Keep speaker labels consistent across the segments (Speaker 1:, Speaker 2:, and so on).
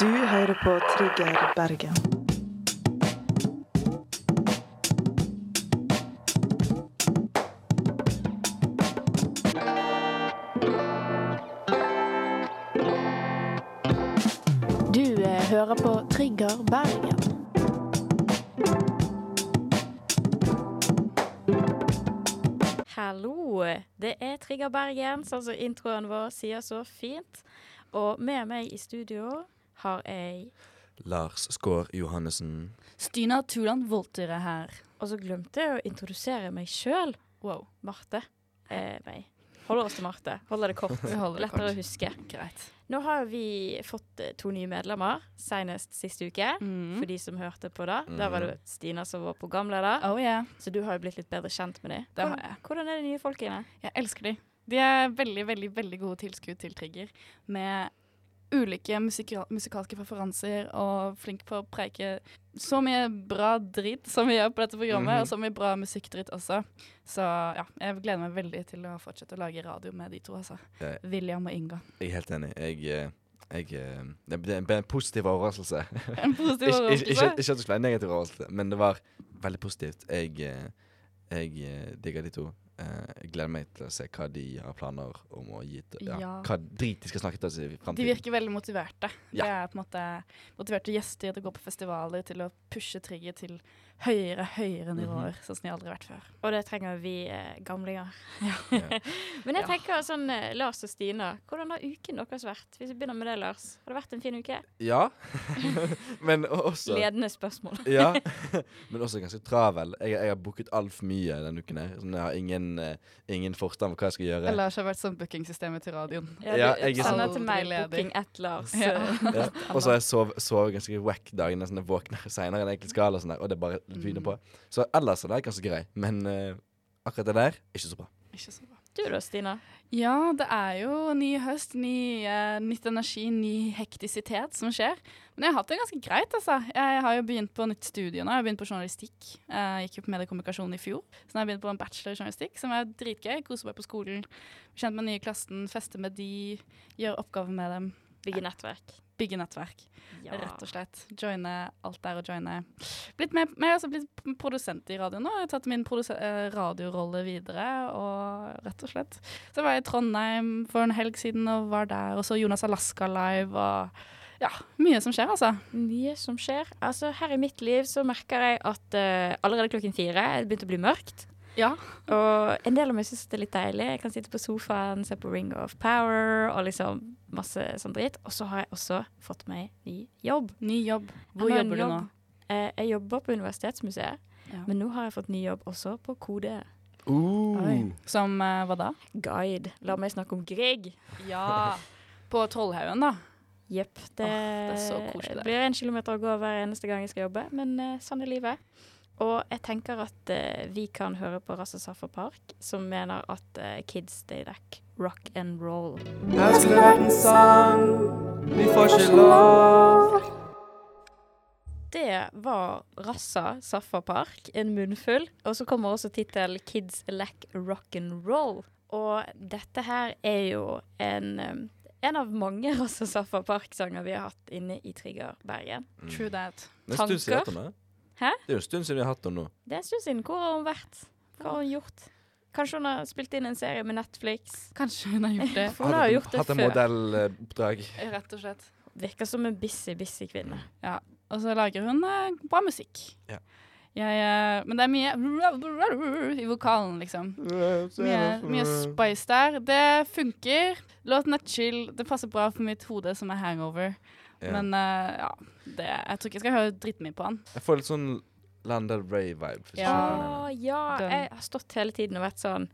Speaker 1: Du hører på Trigger Bergen.
Speaker 2: Du eh, hører på Trigger Bergen.
Speaker 3: Hallo! Det er Trigger Bergen, sånn som introen vår sier så fint. Og med meg i studio har jeg
Speaker 4: Lars Skår Johannessen.
Speaker 5: Stina Tuland Voltere her.
Speaker 3: Og så glemte jeg å introdusere meg sjøl. Wow. Marte. Eh, nei. Holder oss til Marte. Holder det kort.
Speaker 5: holder det
Speaker 3: Lettere
Speaker 5: kort.
Speaker 3: å huske.
Speaker 5: Greit.
Speaker 3: Nå har vi fått eh, to nye medlemmer, senest sist uke.
Speaker 5: Mm.
Speaker 3: For de som hørte på da. Der var det Stina som var programleder.
Speaker 5: Oh yeah.
Speaker 3: Så du har jo blitt litt bedre kjent med dem.
Speaker 5: Det har jeg.
Speaker 3: Hvordan er de nye folkene?
Speaker 5: Jeg elsker de. De er veldig, veldig veldig gode tilskudd til Trigger. Med ulike musikal musikalske preferanser og flink på å preike så mye bra dritt som vi gjør på dette programmet,
Speaker 4: Mhm.
Speaker 5: og så mye bra musikkdritt også. Så ja, jeg gleder meg veldig til å fortsette å lage radio med de to, altså.
Speaker 4: Ja, ja.
Speaker 5: William og Inga.
Speaker 4: Jeg er helt enig. Jeg, eh, jeg, eh, det ble det ble en positiv overraskelse.
Speaker 5: En positiv
Speaker 4: Ikke, ikke, ikke,
Speaker 5: overraskelse.
Speaker 4: ikke at det skulle være en negativ overraskelse, men det var veldig positivt. Jeg, eh, jeg eh, digger de to. Eh, Jeg gleder meg til å se hva de har planer om å gi til ja,
Speaker 5: Ja.
Speaker 4: Hva drit de skal snakke til oss i
Speaker 5: De
Speaker 4: fremtiden
Speaker 5: virker veldig motiverte.
Speaker 4: Ja.
Speaker 5: De er på en måte motiverte gjester til å gå på festivaler, til å pushe Trigger til høyere, høyere nivåer, sånn som de aldri har vært før.
Speaker 3: Og det trenger vi eh, gamlinger.
Speaker 4: Ja.
Speaker 3: Men jeg
Speaker 5: Ja.
Speaker 3: tenker sånn eh, Lars og Stina, hvordan har uken deres vært? Hvis vi begynner med det, Lars. Har det vært en fin uke?
Speaker 4: Ja. men også
Speaker 3: Ledende spørsmål.
Speaker 4: ja. Men også ganske travel. Jeg, jeg har booket altfor mye denne uken. her Sånn, Jeg har ingen, eh, ingen forstand på hva jeg skal gjøre.
Speaker 5: Lars har vært sånn bookingsystemet til radioen.
Speaker 4: Ja, jeg er
Speaker 3: Send
Speaker 5: sånn-
Speaker 3: til meg
Speaker 5: Aldri ledig.
Speaker 3: booking at Lars.
Speaker 5: Ja.
Speaker 4: Ja. Og så har jeg sovet sov ganske wack dagen. Sånn, at jeg våkner seinere enn jeg egentlig skal, og, sånn der, og det bare begynner på. Så ellers er det ganske grei, men eh, akkurat det der, ikke så bra.
Speaker 5: Ikke så bra.
Speaker 3: Du da, Stina.
Speaker 5: Ja, det er jo ny høst, ny, eh, nytt energi, ny hektisitet som skjer. Men jeg har hatt det ganske greit, altså. Jeg har jo begynt på nytt studie nå. Jeg har begynt på journalistikk. Eh, Jeg gikk jo på mediekommunikasjon i fjor. Så nå har jeg begynt på en bachelor i journalistikk, som er dritgøy. Koser meg på skolen. Blir Kjent med nye i klassen, fester med de, gjør oppgaver med dem.
Speaker 3: Bygge nettverk.
Speaker 5: Bygge nettverk,
Speaker 3: Ja.
Speaker 5: rett og slett. Joine alt der og joine. Blitt med, men jeg har også blitt p- produsent i radioen nå. Jeg har tatt min produse- eh, radiorolle videre, og rett og slett. Så var jeg i Trondheim for en helg siden og var der. Og så Jonas Alaska live og Ja, mye som skjer, altså.
Speaker 3: Mye som skjer. Altså, her i mitt liv så merker jeg at eh, allerede klokken fire er det begynt å bli mørkt.
Speaker 5: Ja.
Speaker 3: Og en del av meg syns det er litt deilig. Jeg kan sitte på sofaen, se på Ring of Power og liksom masse sånn dritt. Og så har jeg også fått meg ny jobb.
Speaker 5: Ny jobb. Hvor
Speaker 3: Jeg har en
Speaker 5: jobber du nå?
Speaker 3: jobb. Eh, jeg jobber på Universitetsmuseet,
Speaker 5: Ja.
Speaker 3: men nå har jeg fått ny jobb også på Kode.
Speaker 5: Oi. Som eh, hva da?
Speaker 3: Guide. La meg snakke om Grieg.
Speaker 5: Ja. På Trollhaugen, da.
Speaker 3: Jepp.
Speaker 5: Åh,
Speaker 3: Det,
Speaker 5: det er så koselig der.
Speaker 3: blir en kilometer å gå hver eneste gang jeg skal jobbe, men eh, sånn er livet. Og jeg tenker at eh, vi kan høre på Rassa Safa Park, som mener at eh, kids they lack rock and roll.
Speaker 6: Her skulle det vært en sang, vi får ikke lov.
Speaker 3: Det var Rassa Safa Park, en munnfull. Og så kommer også tittel Kids Lack Rock and Roll. Og dette her er jo en, um, en av mange Rassa Safa Park-sanger vi har hatt inne i Trigger Bergen.
Speaker 5: True that.
Speaker 4: Det er en stund siden vi har hatt henne.
Speaker 3: Hæ?
Speaker 4: Det er jo en stund siden vi har hatt henne nå.
Speaker 3: Det er en stund siden. Hvor har hun vært? Hva har hun gjort? Kanskje hun har spilt inn en serie med Netflix?
Speaker 5: Kanskje hun har gjort det.
Speaker 3: For hun har jo gjort det
Speaker 4: hatt en
Speaker 3: før.
Speaker 4: modelloppdrag.
Speaker 5: Rett og slett.
Speaker 3: Virker som en busy, busy kvinne.
Speaker 5: Og så lager hun eh, bra musikk.
Speaker 4: Ja.
Speaker 5: Jeg, eh, men det er mye i vokalen, liksom. Mye, mye spice der. Det funker. Låten er chill. Det passer bra for mitt hode som er hangover.
Speaker 4: Ja.
Speaker 5: Men eh, ja, det, jeg tror ikke jeg skal høre dritmye på han.
Speaker 4: Jeg får litt sånn Landel Ray-vibe. hvis du
Speaker 5: Ja.
Speaker 4: skjønner hva jeg mener.
Speaker 3: Å ja,
Speaker 5: Den.
Speaker 3: jeg har stått hele tiden og vært sånn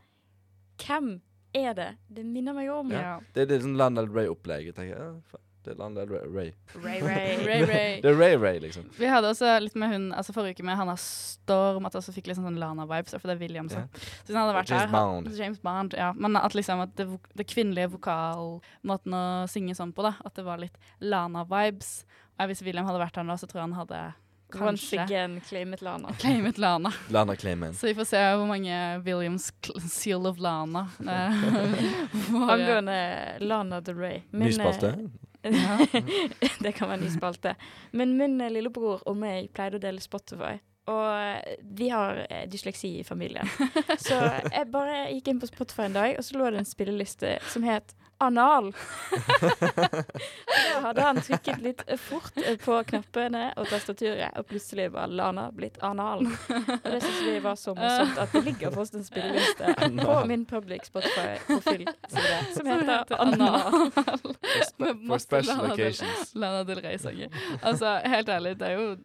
Speaker 3: Hvem er det? Det minner meg om.
Speaker 4: Ja. Det, det er sånn Landel Ray-opplegg. Jeg tenker, ja, faen, Det er Landel Ray.
Speaker 3: Ray Ray.
Speaker 5: Ray Ray.
Speaker 4: Det er Ray-Ray, liksom.
Speaker 5: Vi hadde også litt med hun, altså forrige uke med Hanna Storm, at jeg også fikk litt sånn Lana-vibes, for det er William som Så hvis han hadde vært
Speaker 4: James
Speaker 5: her,
Speaker 4: Bond.
Speaker 5: had- James Bond, ja. Men at liksom at det, vok- det kvinnelige vokalmåten å synge sånn på, da, at det var litt Lana-vibes. Og Hvis William hadde vært her nå, så tror jeg han hadde
Speaker 3: Once
Speaker 5: kanskje
Speaker 3: again claimet Lana.
Speaker 5: claimet Lana.
Speaker 4: Landa Clayman.
Speaker 5: Så vi får se hvor mange Williams cl- seal of Lana eh, får, eh,
Speaker 3: Angående Lana Del Rey.
Speaker 4: Ny
Speaker 3: eh,
Speaker 4: spalte.
Speaker 3: det kan være en ny spalte. Men min eh, lillebror og meg pleide å dele Spotify. Og eh, vi har eh, dysleksi i familien. Så jeg bare gikk inn på Spotify en dag, og så lå det en spilleliste som het Anal. Da hadde han trykket litt fort eh, på knappene og tastaturet, og plutselig var Lana blitt anal. Og det synes vi var så morsomt at det ligger fortsatt en spilleliste på
Speaker 4: Anal.
Speaker 3: min public Spotify-profil side, som heter Anal.
Speaker 5: Anna.
Speaker 4: For,
Speaker 5: Masse
Speaker 4: for special
Speaker 5: Lana Del-
Speaker 4: occasions.
Speaker 5: Lana Del Rey-sanger. Altså, helt ærlig, det er jo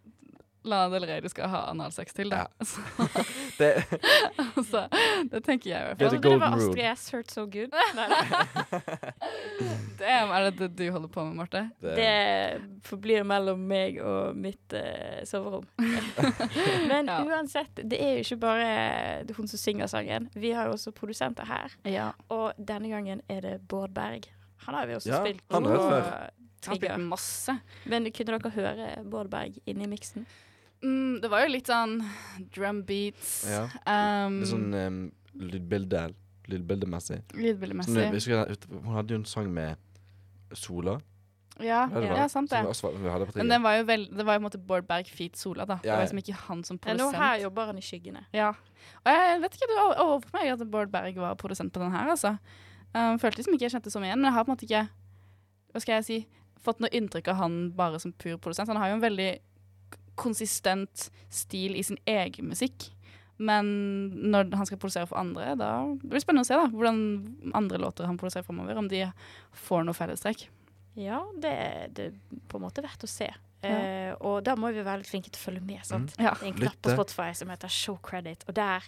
Speaker 5: Lana Del Rey du skal ha analsex til, da.
Speaker 4: Ja. Det,
Speaker 5: Altså, det tenker jeg i hvert fall.
Speaker 4: Det er
Speaker 3: Jeg
Speaker 4: the
Speaker 3: trodde det var
Speaker 4: golden rule.
Speaker 3: Astrid S. Hurt So Good. Nei, nei.
Speaker 5: Damn, er det det du holder på med, Marte?
Speaker 4: det,
Speaker 3: Det forblir mellom meg og mitt eh, soverom. Men
Speaker 5: Ja.
Speaker 3: uansett, det er jo ikke bare eh, hun som synger sangen. Vi har jo også produsenter her.
Speaker 5: Ja.
Speaker 3: Og denne gangen er det Bård Berg. Han har vi også
Speaker 4: Ja,
Speaker 3: spilt
Speaker 4: han har
Speaker 3: på
Speaker 4: vært
Speaker 5: Jeg har
Speaker 3: Trigger.
Speaker 5: blitt masse.
Speaker 3: Men kunne dere høre Bård Berg inni miksen?
Speaker 5: Mm, det var jo litt sånn drum beats.
Speaker 4: ja.
Speaker 5: Um,
Speaker 4: Litt sånn um, lydbilde, lydbildemessig. Sånn, jeg
Speaker 5: Lydbildemessig.
Speaker 4: husker jeg- Hun hadde jo en sang med Sola.
Speaker 5: Ja,
Speaker 4: Ja, det var
Speaker 5: ja, sant det.
Speaker 4: Som også var- vi hadde
Speaker 5: Men
Speaker 4: på trigger.
Speaker 5: den var jo vel, det var jo på en måte Bård Berg feat Sola, da. Det
Speaker 4: Ja,
Speaker 5: var
Speaker 4: ja.
Speaker 5: liksom ikke han som
Speaker 3: Ja, nå her
Speaker 5: produsent.
Speaker 3: jobber han i skyggene.
Speaker 5: Ja. Og jeg vet ikke, det over- overrasker meg at Bård Berg var produsent på den her, altså. Um, følte liksom ikke jeg kjente så mye igjen, men jeg har på en måte ikke Hva skal jeg si fått noe inntrykk av han bare som pur produsent. Han har jo en veldig k- konsistent stil i sin egen musikk. Men når han skal produsere for andre, da blir det spennende å se da, hvordan andre låter han produserer framover. Om de får noe fellestrekk.
Speaker 3: Ja, det er det på en måte verdt å se. Eh, og da må vi være litt flinke til å følge med. sant?
Speaker 5: Ja.
Speaker 3: Det er en knapp på
Speaker 4: Mm. Lytte.
Speaker 3: Spotify som heter Show Credit, og der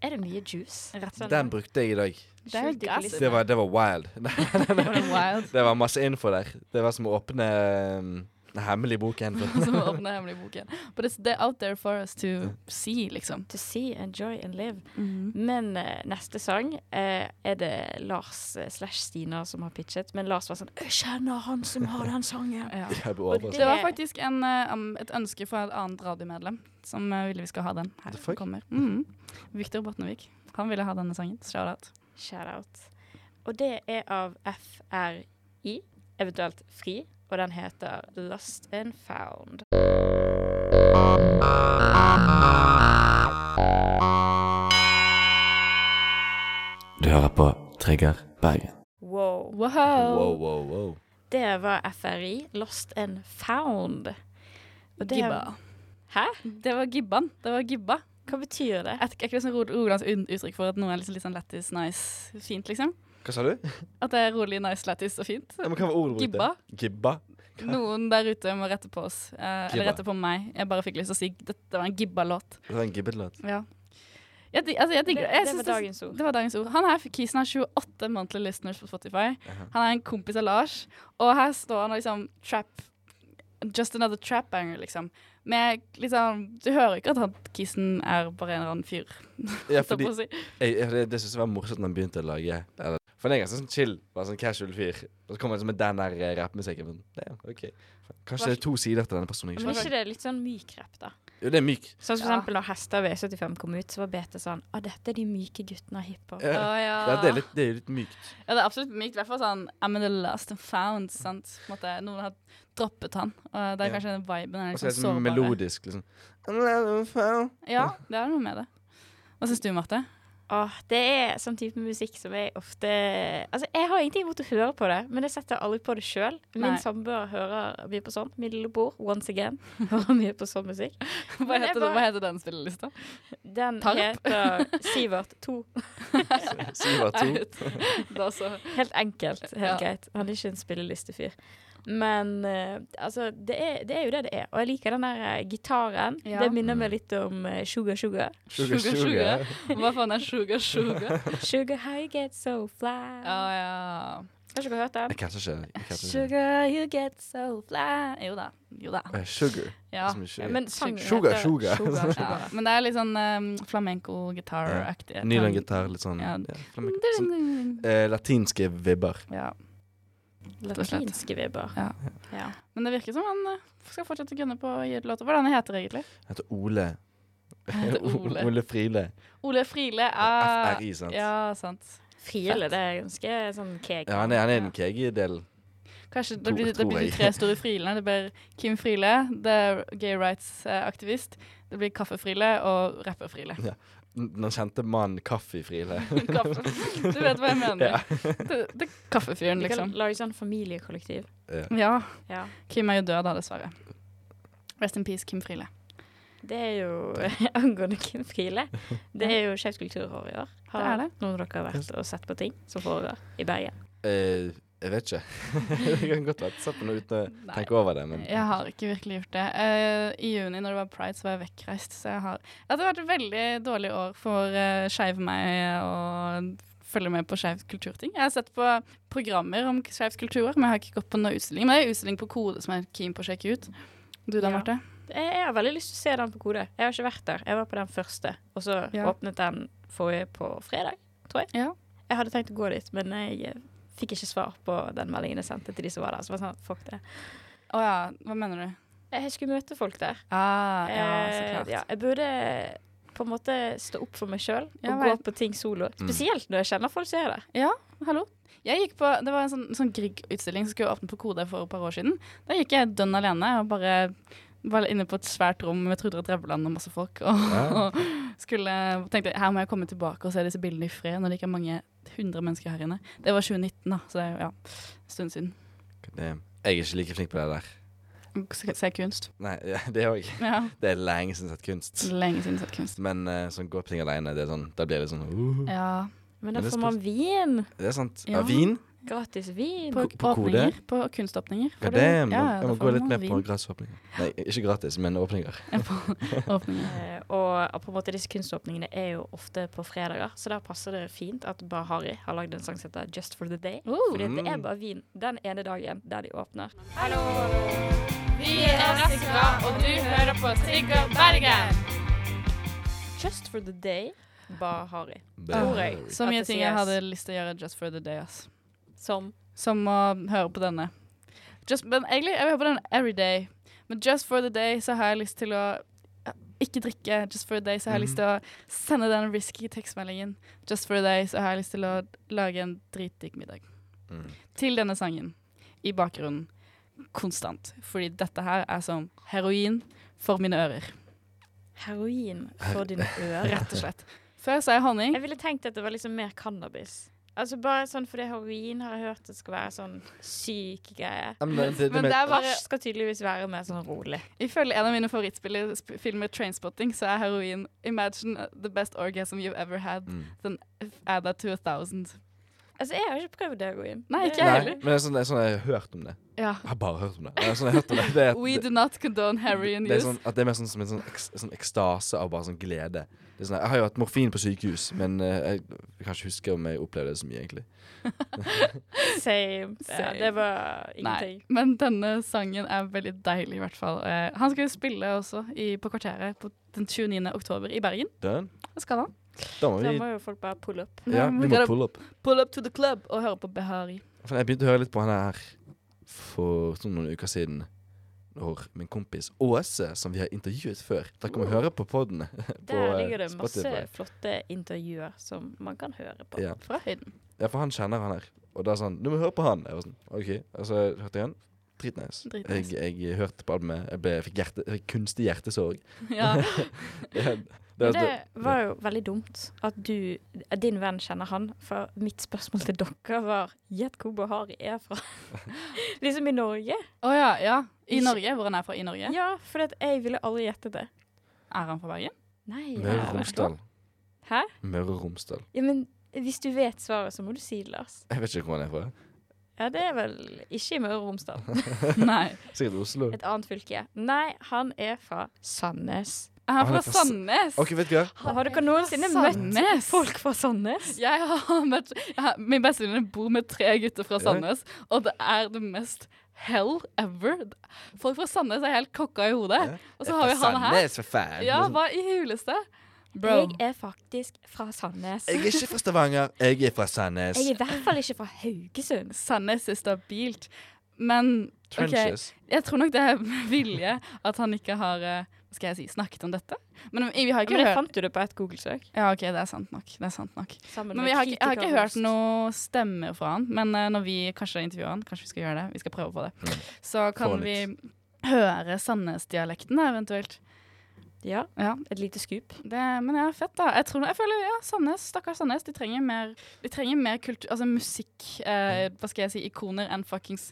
Speaker 3: er det mye juice. Rett og slett.
Speaker 4: Den brukte jeg i dag.
Speaker 5: sånn- Det er jo
Speaker 3: Skjult i
Speaker 5: gress.
Speaker 3: kulissene.
Speaker 4: Det var, det var wild.
Speaker 5: Wild
Speaker 4: Det var masse info der. Det var som å åpne um, den hemmelige boken.
Speaker 5: som åpner hemmelig boken. But it's they're out there for us to see, liksom.
Speaker 3: To see, enjoy and live. Men eh, neste sang eh, er det Lars eh, slash Stina som har pitchet. Men Lars var sånn 'Jeg kjenner han som har den sangen'.
Speaker 5: Ja.
Speaker 4: Jeg ble
Speaker 3: Og
Speaker 5: Det
Speaker 4: overrasket.
Speaker 5: var faktisk en, eh, um, et ønske fra et annet radiomedlem som eh, ville vi skal ha den her.
Speaker 4: The
Speaker 5: Som
Speaker 4: fuck?
Speaker 5: kommer. Mhm. Victor Botnevik. Han ville ha denne sangen. Shout out.
Speaker 3: Shout out. Og det er av FRI, eventuelt FRI, og den heter Lost and Found.
Speaker 7: Du hører på Trigger Bergen.
Speaker 3: Wow.
Speaker 5: Wow.
Speaker 4: Wow, wow, wow.
Speaker 3: Det var FRI, Lost and Found. Og det,
Speaker 5: Gibba.
Speaker 3: Hæ?
Speaker 5: Det var gibban. Det var gibba.
Speaker 3: Hva betyr det?
Speaker 5: Er ikke- er ikke det sånn Ro- Rogalands un- uttrykk for at noe er liksom litt sånn lættis, nice, fint, liksom?
Speaker 4: Hva sa du?
Speaker 5: At det er rolig, nice, lættis og fint?
Speaker 4: Ja, men hva var ordet du brukte?
Speaker 5: Gibba.
Speaker 4: Gibba.
Speaker 5: Noen der ute må rette på oss. eh, eller
Speaker 4: Gibba.
Speaker 5: rette på meg. Jeg bare fikk lyst til å si dette var en gibba-låt.
Speaker 4: Det var en gibbelåt.
Speaker 5: Ja. Jeg, dig- altså, jeg
Speaker 3: Det,
Speaker 5: digger det. Jeg
Speaker 3: det
Speaker 5: synes
Speaker 3: var dagens ord.
Speaker 5: Det var dagens ord. Han her, Kisen har 28 monthly listeners på Spotify. Han er en kompis av Lars. Og her står han og liksom trap Just another trap banger, liksom. Med liksom Du hører ikke at han Kisen er bare en eller annen fyr.
Speaker 4: Ja,
Speaker 5: holdt jeg
Speaker 4: fordi
Speaker 5: på å si.
Speaker 4: jeg, jeg, det, det synes jeg var morsomt når han begynte å lage eller, For han er ganske sånn chill, bare sånn casual fyr. Og så kommer han sånn med den der eh, rappmusikken. men det er ok. Kanskje det er to sider til denne personen.
Speaker 3: Men
Speaker 4: Jeg
Speaker 3: er
Speaker 4: ikke
Speaker 3: ikke det litt sånn myk rap, da?
Speaker 4: skjønner. Jo, det er myk.
Speaker 3: Sånn som for
Speaker 5: Ja.
Speaker 3: eksempel når Hester V75 kom ut, så var BT sånn Å, dette er de myke guttene av hiphop.
Speaker 4: Ja.
Speaker 5: Å,
Speaker 4: Ja, det er litt, det er litt mykt.
Speaker 5: Ja, det er absolutt mykt. I hvert fall sånn I'm in the last and found. sant? På en måte, noen har droppet han. Og det er
Speaker 4: Ja.
Speaker 5: kanskje den viben. Er
Speaker 4: Og
Speaker 5: liksom
Speaker 4: så er det sånn
Speaker 5: sårbare.
Speaker 4: melodisk, liksom. Ja,
Speaker 5: Ja, det er noe med det. Hva syns du, Marte?
Speaker 3: Åh, det er sånn type musikk som jeg ofte Altså, jeg har ingenting imot å høre på det, men jeg setter aldri på det sjøl. Min
Speaker 5: Nei.
Speaker 3: samboer hører mye på sånn. Min lillebror, once again, hører mye på sånn musikk.
Speaker 5: Hva
Speaker 3: Men jeg
Speaker 5: heter,
Speaker 3: bare-
Speaker 5: hva heter den spillelista?
Speaker 3: Den
Speaker 5: Tarp.
Speaker 3: heter Sivert 2.
Speaker 4: Siva to.
Speaker 5: da så.
Speaker 3: Helt enkelt.
Speaker 5: Ja.
Speaker 3: Helt greit. Han er ikke en spillelistefyr. Men eh, altså, det er, det er jo det det er. Og jeg liker den der eh, gitaren.
Speaker 5: Ja.
Speaker 3: Det minner meg litt om eh, Sugar Sugar.
Speaker 4: Sugar,
Speaker 5: Sugar,
Speaker 4: sugar.
Speaker 5: sugar. Hva faen er sugar, sugar?
Speaker 3: Sugar how you get so fly.
Speaker 5: Ja, ja.
Speaker 3: Har ikke dere hørt den?
Speaker 4: Jeg catcher ikke. Jeg catcher ikke.
Speaker 3: Sugar you get so fly.
Speaker 5: Jo da. Jo da.
Speaker 4: Eh, Sugar.
Speaker 5: Ja.
Speaker 4: Som i sugar.
Speaker 3: Ja, men sangen
Speaker 4: Sugar,
Speaker 3: heter
Speaker 4: sugar.
Speaker 5: ja. Men det er litt sånn um, flamenco-gitar-aktig.
Speaker 4: Nylon gitar, litt sånn
Speaker 5: Ja.
Speaker 4: ja. flamenco. sånn, eh, Latinske vibber.
Speaker 5: Ja. og slett.
Speaker 3: Latinske vibber.
Speaker 5: Ja.
Speaker 3: Ja.
Speaker 5: Men det virker som han eh, skal fortsette å gunne på å gi ut låter. Hva er det han heter egentlig?
Speaker 4: Han heter Ole.
Speaker 5: heter Ole.
Speaker 4: Ole Friele.
Speaker 5: Ole Friele er
Speaker 4: FRI, sant.
Speaker 5: Ja, sant.
Speaker 3: Friele, det er ganske sånn keg.
Speaker 4: Ja, han er, han er den kege delen.
Speaker 5: Kanskje
Speaker 4: Tror-
Speaker 5: det blir, det
Speaker 4: tror
Speaker 5: blir de
Speaker 4: jeg.
Speaker 5: tre store frilene. Det blir Kim Friele, det er gay rights-aktivist. Det blir Kaffe-Friele og rapper-Friele.
Speaker 4: Den den kjente mannen Kaffefrile.
Speaker 5: Kaffe. Du vet hva jeg
Speaker 4: Ja.
Speaker 5: mener. Det, det er kaffefyren,
Speaker 3: Vi kan
Speaker 5: liksom.
Speaker 3: lage sånn familiekollektiv.
Speaker 5: Ja.
Speaker 3: Ja.
Speaker 5: Kim er jo død, da, dessverre. Rest in peace, Kim Friele.
Speaker 3: Det er jo angående Kim Friele. Det er jo Skeivt kulturår i år. Har
Speaker 5: Det er det.
Speaker 3: noen av dere vært og sett på ting som foregår i Bergen?
Speaker 4: Eh, jeg vet ikke. det kan godt være satt på noe uten å
Speaker 5: Nei.
Speaker 4: tenke over det, men
Speaker 5: Jeg har ikke virkelig gjort det. Eh, I juni når det var pride, så var jeg vekkreist. Så jeg har ja, Det har vært et veldig dårlig år for uh, skeiv meg og følge med på skeiv kulturting. Jeg har sett på programmer om skeiv kultur, men jeg har ikke gått på noen utstilling. Men det er utstilling på kode som jeg er keen på å sjekke ut. Du da,
Speaker 3: Ja.
Speaker 5: Marte?
Speaker 3: Jeg jeg har veldig lyst til å se den på Kode. Jeg har ikke vært der. Jeg var på den første, og så
Speaker 5: Ja.
Speaker 3: åpnet den forrige på fredag, tror jeg.
Speaker 5: Ja.
Speaker 3: Jeg hadde tenkt å gå dit, men jeg eh, fikk ikke svar på den meldingen jeg sendte til de som var der. Så jeg var sånn, fuck det.
Speaker 5: Å ja, hva mener du?
Speaker 3: Jeg skulle møte folk der.
Speaker 5: Ah, ja, så
Speaker 3: Eh,
Speaker 5: klart.
Speaker 3: ja, jeg burde på en måte stå opp for meg sjøl
Speaker 5: Ja,
Speaker 3: og gå
Speaker 5: vet.
Speaker 3: på ting solo.
Speaker 4: Mm.
Speaker 3: Spesielt når jeg kjenner folk som er der.
Speaker 5: Hallo? Jeg gikk på, Det var en sånn, sånn Grieg-utstilling som skulle åpne på Kode for et par år siden. Da gikk jeg dønn alene og bare var inne på et svært rom med Trude Drevland og masse folk. Og, og skulle, tenkte her må jeg komme tilbake og se disse bildene i fred når det ikke er mange hundre mennesker her inne. Det var 2019, da, så det er jo, ja, en stund siden.
Speaker 4: det, jeg er ikke like flink på det der.
Speaker 5: Se se kunst.
Speaker 4: Nei, det òg.
Speaker 5: Ja.
Speaker 4: Det er lenge siden jeg har sett kunst.
Speaker 5: Lenge siden jeg har sett kunst.
Speaker 4: Men eh, sånn gå på ting alene, det er sånn, da blir det sånn uh,
Speaker 5: Ja.
Speaker 3: Men da
Speaker 4: Men det
Speaker 3: får man vin.
Speaker 4: Det er sant.
Speaker 5: Ja.
Speaker 4: Ja, vin?
Speaker 3: Gratis vin.
Speaker 5: På,
Speaker 4: På- på Kode?
Speaker 5: åpninger. På kunståpninger. får
Speaker 4: God
Speaker 5: du-
Speaker 4: damn.
Speaker 5: ja,
Speaker 4: jeg
Speaker 5: da
Speaker 4: må
Speaker 5: får
Speaker 4: gå litt
Speaker 5: man
Speaker 4: mer på
Speaker 5: vin.
Speaker 4: gratisåpninger. Nei, ikke gratis, men åpninger.
Speaker 5: Åpninger.
Speaker 3: Eh, og på en måte disse kunståpningene er jo ofte på fredager, så da passer det fint at Bahari har lagd en sang som heter Just for the day.
Speaker 5: Uh.
Speaker 3: Fordi at det
Speaker 4: Mm.
Speaker 3: er bare vin den ene dagen der de åpner. Just for the day, Bahari.
Speaker 4: Det
Speaker 5: Ah.
Speaker 4: er-
Speaker 3: Tror jeg.
Speaker 5: Så
Speaker 3: at
Speaker 5: mye
Speaker 3: det
Speaker 5: ting jeg
Speaker 3: sies
Speaker 5: hadde lyst til å gjøre just for the day, ass.
Speaker 3: Som
Speaker 5: Som å høre på denne. Just, men egentlig, jeg vil høre på den every day. Men just for the day så har jeg lyst til å ja, ikke drikke. Just for the day så har jeg lyst til å sende den risky tekstmeldingen. Just for the day så har jeg lyst til å lage en dritdigg middag.
Speaker 4: Mm.
Speaker 5: Til denne sangen. I bakgrunnen. Konstant. Fordi dette her er som heroin for mine ører,
Speaker 3: heroin for dine ører.
Speaker 5: rett og slett. Før sa jeg honning.
Speaker 3: Jeg ville tenkt at det var liksom mer cannabis. Altså bare sånn fordi heroin har jeg hørt det skal være sånn syk greie.
Speaker 4: Ja, men det, det,
Speaker 5: Men
Speaker 4: men-
Speaker 5: det er bare
Speaker 3: Hasj skal tydeligvis være mer sånn rolig.
Speaker 5: Ifølge en av mine favorittfilmer, Trainspotting, så er heroin Imagine the best orgasm you've ever had.
Speaker 4: Mm.
Speaker 5: Then add that to a thousand.
Speaker 3: Altså, jeg har ikke prøvd heroin.
Speaker 5: Nei, ikke jeg
Speaker 4: Nei,
Speaker 5: heller.
Speaker 4: men det er sånn, det er sånn jeg har hørt om det.
Speaker 5: Ja.
Speaker 4: Jeg har bare hørt om det. Det er sånn jeg har hørt om det. det, er,
Speaker 5: We
Speaker 4: det,
Speaker 5: do not condone heroin
Speaker 4: det er
Speaker 5: use.
Speaker 4: sånn, at det er mer sånn som en sånn, eks, sånn ekstase av bare sånn glede. Det er sånn, jeg har jo hatt morfin på sykehus, men eh, jeg kan ikke huske om jeg opplevde det så mye, egentlig.
Speaker 3: Same. Ja,
Speaker 5: Same.
Speaker 3: det var
Speaker 5: Nei,
Speaker 3: ingenting.
Speaker 5: men denne sangen er veldig deilig, i hvert fall. Eh, han skal jo spille også i, på Kvarteret på den 29. oktober i Bergen.
Speaker 4: Done.
Speaker 5: Det skal han.
Speaker 4: Da må
Speaker 3: Da
Speaker 4: vi
Speaker 3: må jo folk bare pulle opp.
Speaker 4: Ja, vi må
Speaker 5: Gotta
Speaker 4: pull up.
Speaker 5: Pull up to the club og høre på Behari.
Speaker 4: For jeg begynte å høre litt på han her for sånn noen uker siden. Når min kompis Åse, som vi har intervjuet før Dere kan høre på podden. På,
Speaker 3: Der
Speaker 4: eh,
Speaker 3: ligger det masse
Speaker 4: Spotify.
Speaker 3: flotte intervjuer som man kan høre på.
Speaker 4: Ja.
Speaker 5: Fra høyden.
Speaker 4: Ja, for han kjenner han her. Og da sa han 'du må høre på han'. Jeg var sånn, ok, Og så hørte jeg han. Dritnice.
Speaker 5: Dritnice.
Speaker 4: Jeg, jeg hørte på albumet. Jeg, ble, jeg fikk hjerte, jeg fikk kunstig hjertesorg.
Speaker 5: Ja.
Speaker 4: Ja,
Speaker 3: Men
Speaker 4: det, var-
Speaker 3: det var jo veldig dumt at du, at din venn kjenner han, for mitt spørsmål til dere var Gjett hvor Bahari er fra. liksom i Norge.
Speaker 5: Å ja, ja. I Norge, hvor han er fra i Norge.
Speaker 3: Ja, for at jeg ville aldri gjette det.
Speaker 5: Er han fra Bergen?
Speaker 3: Nei.
Speaker 4: Møre
Speaker 3: ja.
Speaker 4: og Romsdal.
Speaker 3: Hæ?
Speaker 4: Møre og Romsdal.
Speaker 3: Ja, men hvis du vet svaret, så må du si det, Lars.
Speaker 4: Jeg vet ikke hvor han er fra.
Speaker 3: Ja, det er vel ikke i Møre og Romsdal.
Speaker 5: Nei.
Speaker 4: Sikkert Oslo.
Speaker 3: Et annet fylke. Nei, han er fra Sandnes.
Speaker 5: Er han
Speaker 4: Han
Speaker 5: fra
Speaker 4: er fra S-
Speaker 5: Sandnes?
Speaker 4: OK, vet du hva?
Speaker 3: Har dere noensinne møtt
Speaker 5: Sandnes?
Speaker 3: folk fra Sandnes?
Speaker 5: Jeg har møtt jeg har, Min bestevenninne bor med tre gutter fra Sandnes, og det er det mest hell ever. Folk fra Sandnes er helt kokka i hodet. Og så har vi han her.
Speaker 4: Sandnes, for faen.
Speaker 5: Ja, hva i huleste? Bro.
Speaker 3: Jeg er faktisk fra Sandnes.
Speaker 4: Jeg er ikke fra Stavanger. Jeg er fra Sandnes.
Speaker 3: Jeg er i hvert fall ikke fra Haugesund.
Speaker 5: Sandnes er stabilt. Men OK,
Speaker 4: Trenches.
Speaker 5: jeg tror nok det er med vilje at han ikke har eh, skal jeg si, snakket om dette. Men eh, vi har ikke
Speaker 3: Men det
Speaker 5: hørt
Speaker 3: fant du det på et Google-søk.
Speaker 5: Ja, OK, det er sant nok. Det er sant nok.
Speaker 3: Sammen
Speaker 5: Men
Speaker 3: med
Speaker 5: vi har ikke, jeg har ikke hørt
Speaker 3: kritikerrost.
Speaker 5: noe stemme fra han. Men eh, når vi kanskje intervjuer han, kanskje vi skal gjøre det, vi skal prøve på det, så kan
Speaker 4: Mm. Få
Speaker 5: vi
Speaker 4: litt.
Speaker 5: høre Sandnes-dialekten da, eventuelt.
Speaker 3: Ja,
Speaker 5: Ja,
Speaker 3: et lite skup.
Speaker 5: det, men ja, fett da. Jeg, tror, jeg føler, ja, Sandnes, stakkars Sandnes, de trenger mer, de trenger mer kultur, altså musikk, eh, hva skal jeg si, ikoner enn fuckings,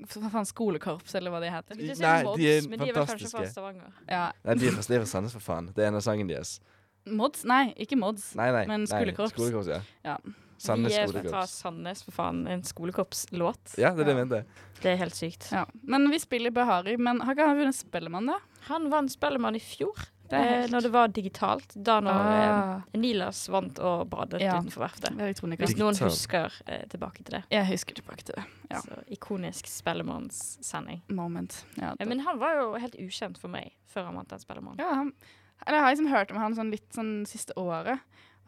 Speaker 5: hva faen, skolekorps, eller hva de heter.
Speaker 4: skulle si Nei,
Speaker 3: sånn
Speaker 4: Mods, de er men de er vel kanskje
Speaker 3: kanskje
Speaker 4: fantastiske. fra
Speaker 5: Ja,
Speaker 4: Nei, de er fra de er fra Sandnes, for faen. Det er en av sangene deres.
Speaker 5: mods? Nei, ikke mods.
Speaker 4: Nei, nei.
Speaker 5: Men
Speaker 4: nei,
Speaker 5: skolekorps.
Speaker 4: Skolekorps, ja.
Speaker 5: Ja.
Speaker 4: Sandnes
Speaker 3: Vi er fra
Speaker 4: skolekorps.
Speaker 3: Sandnes, for faen. En skolekorpslåt.
Speaker 4: Ja, det er det jeg mente.
Speaker 3: Det er helt sykt.
Speaker 5: Ja. Men vi spiller Behari, men har ikke han vunnet Spellemann da?
Speaker 3: Han vant Spellemann i fjor,
Speaker 5: Det er
Speaker 3: eh,
Speaker 5: helt-
Speaker 3: når det var digitalt. Da når eh,
Speaker 5: Ah,
Speaker 3: Nilas vant og badet
Speaker 5: Ja.
Speaker 3: utenfor verftet.
Speaker 5: elektronika.
Speaker 3: Hvis noen
Speaker 4: Digitalt.
Speaker 3: husker eh, tilbake til det.
Speaker 5: Jeg husker tilbake til det. Ja.
Speaker 3: Så ikonisk Spellemannssending.
Speaker 5: Moment. Ja,
Speaker 3: Ja,
Speaker 5: det-
Speaker 3: men han var jo helt ukjent for meg før han vant den Spellemann.
Speaker 5: Ja, han, eller jeg har liksom hørt om han sånn litt sånn siste året.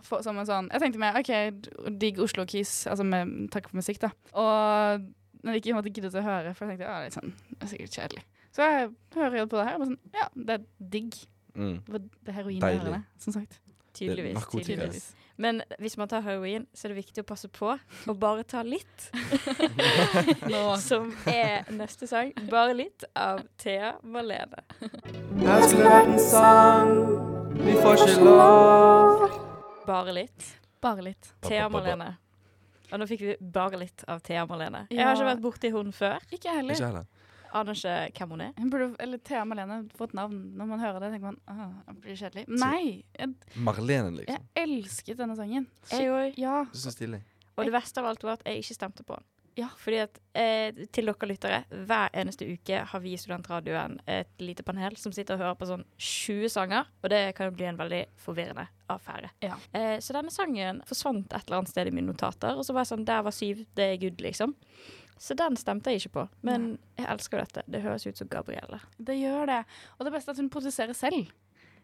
Speaker 5: For, som en sånn, jeg tenkte mer, ok, d- digg Oslo Keys, altså med takk for musikk da. Og når jeg ikke måtte gidde til å høre, for jeg tenkte, ja, det er, litt sånn, det er sikkert kjedelig. Så jeg hører jo på det her, og bare sånn, ja, det er digg.
Speaker 4: Mm.
Speaker 5: Det var- det er heroin i
Speaker 4: Deilig.
Speaker 5: ørene, som sagt.
Speaker 4: Det er
Speaker 3: Tydeligvis.
Speaker 4: narkotika.
Speaker 3: tydeligvis.
Speaker 5: Tydeligvis.
Speaker 3: Men hvis man tar heroin, så er det viktig å passe på å bare ta litt. Som er neste sang. Bare litt av Thea Malene.
Speaker 6: Her skulle det vært en sang, vi får ikke lov.
Speaker 3: Bare litt.
Speaker 5: Bare litt.
Speaker 3: Thea Malene. Og nå fikk vi bare litt av Thea Malene. Jeg
Speaker 5: Ja.
Speaker 3: har ikke vært borti hun før.
Speaker 5: Ikke jeg heller.
Speaker 4: Ikke heller.
Speaker 3: Aner ikke hvem hun er.
Speaker 5: Hun burde, eller Thea Malene, få et navn. Når man hører det, tenker man, ah, det blir kjedelig. Nei, jeg,
Speaker 4: Marlene,
Speaker 5: jeg
Speaker 4: liksom.
Speaker 5: elsket denne sangen.
Speaker 3: Jeg òg.
Speaker 5: Ja,
Speaker 4: Du syns stilig.
Speaker 3: Og det verste av alt var at jeg ikke stemte på den.
Speaker 5: Ja.
Speaker 3: Fordi at eh, til dere lyttere, hver eneste uke har vi i Studentradioen et lite panel som sitter og hører på sånn 20 sanger, og det kan jo bli en veldig forvirrende affære.
Speaker 5: Ja.
Speaker 3: Eh, så denne sangen forsvant et eller annet sted i mine notater, og så var jeg sånn Der var syv, det er good, liksom. Så den stemte jeg ikke på. Men jeg elsker jo dette. Det høres ut som Gabrielle.
Speaker 5: det gjør det. Og det beste er at hun produserer selv.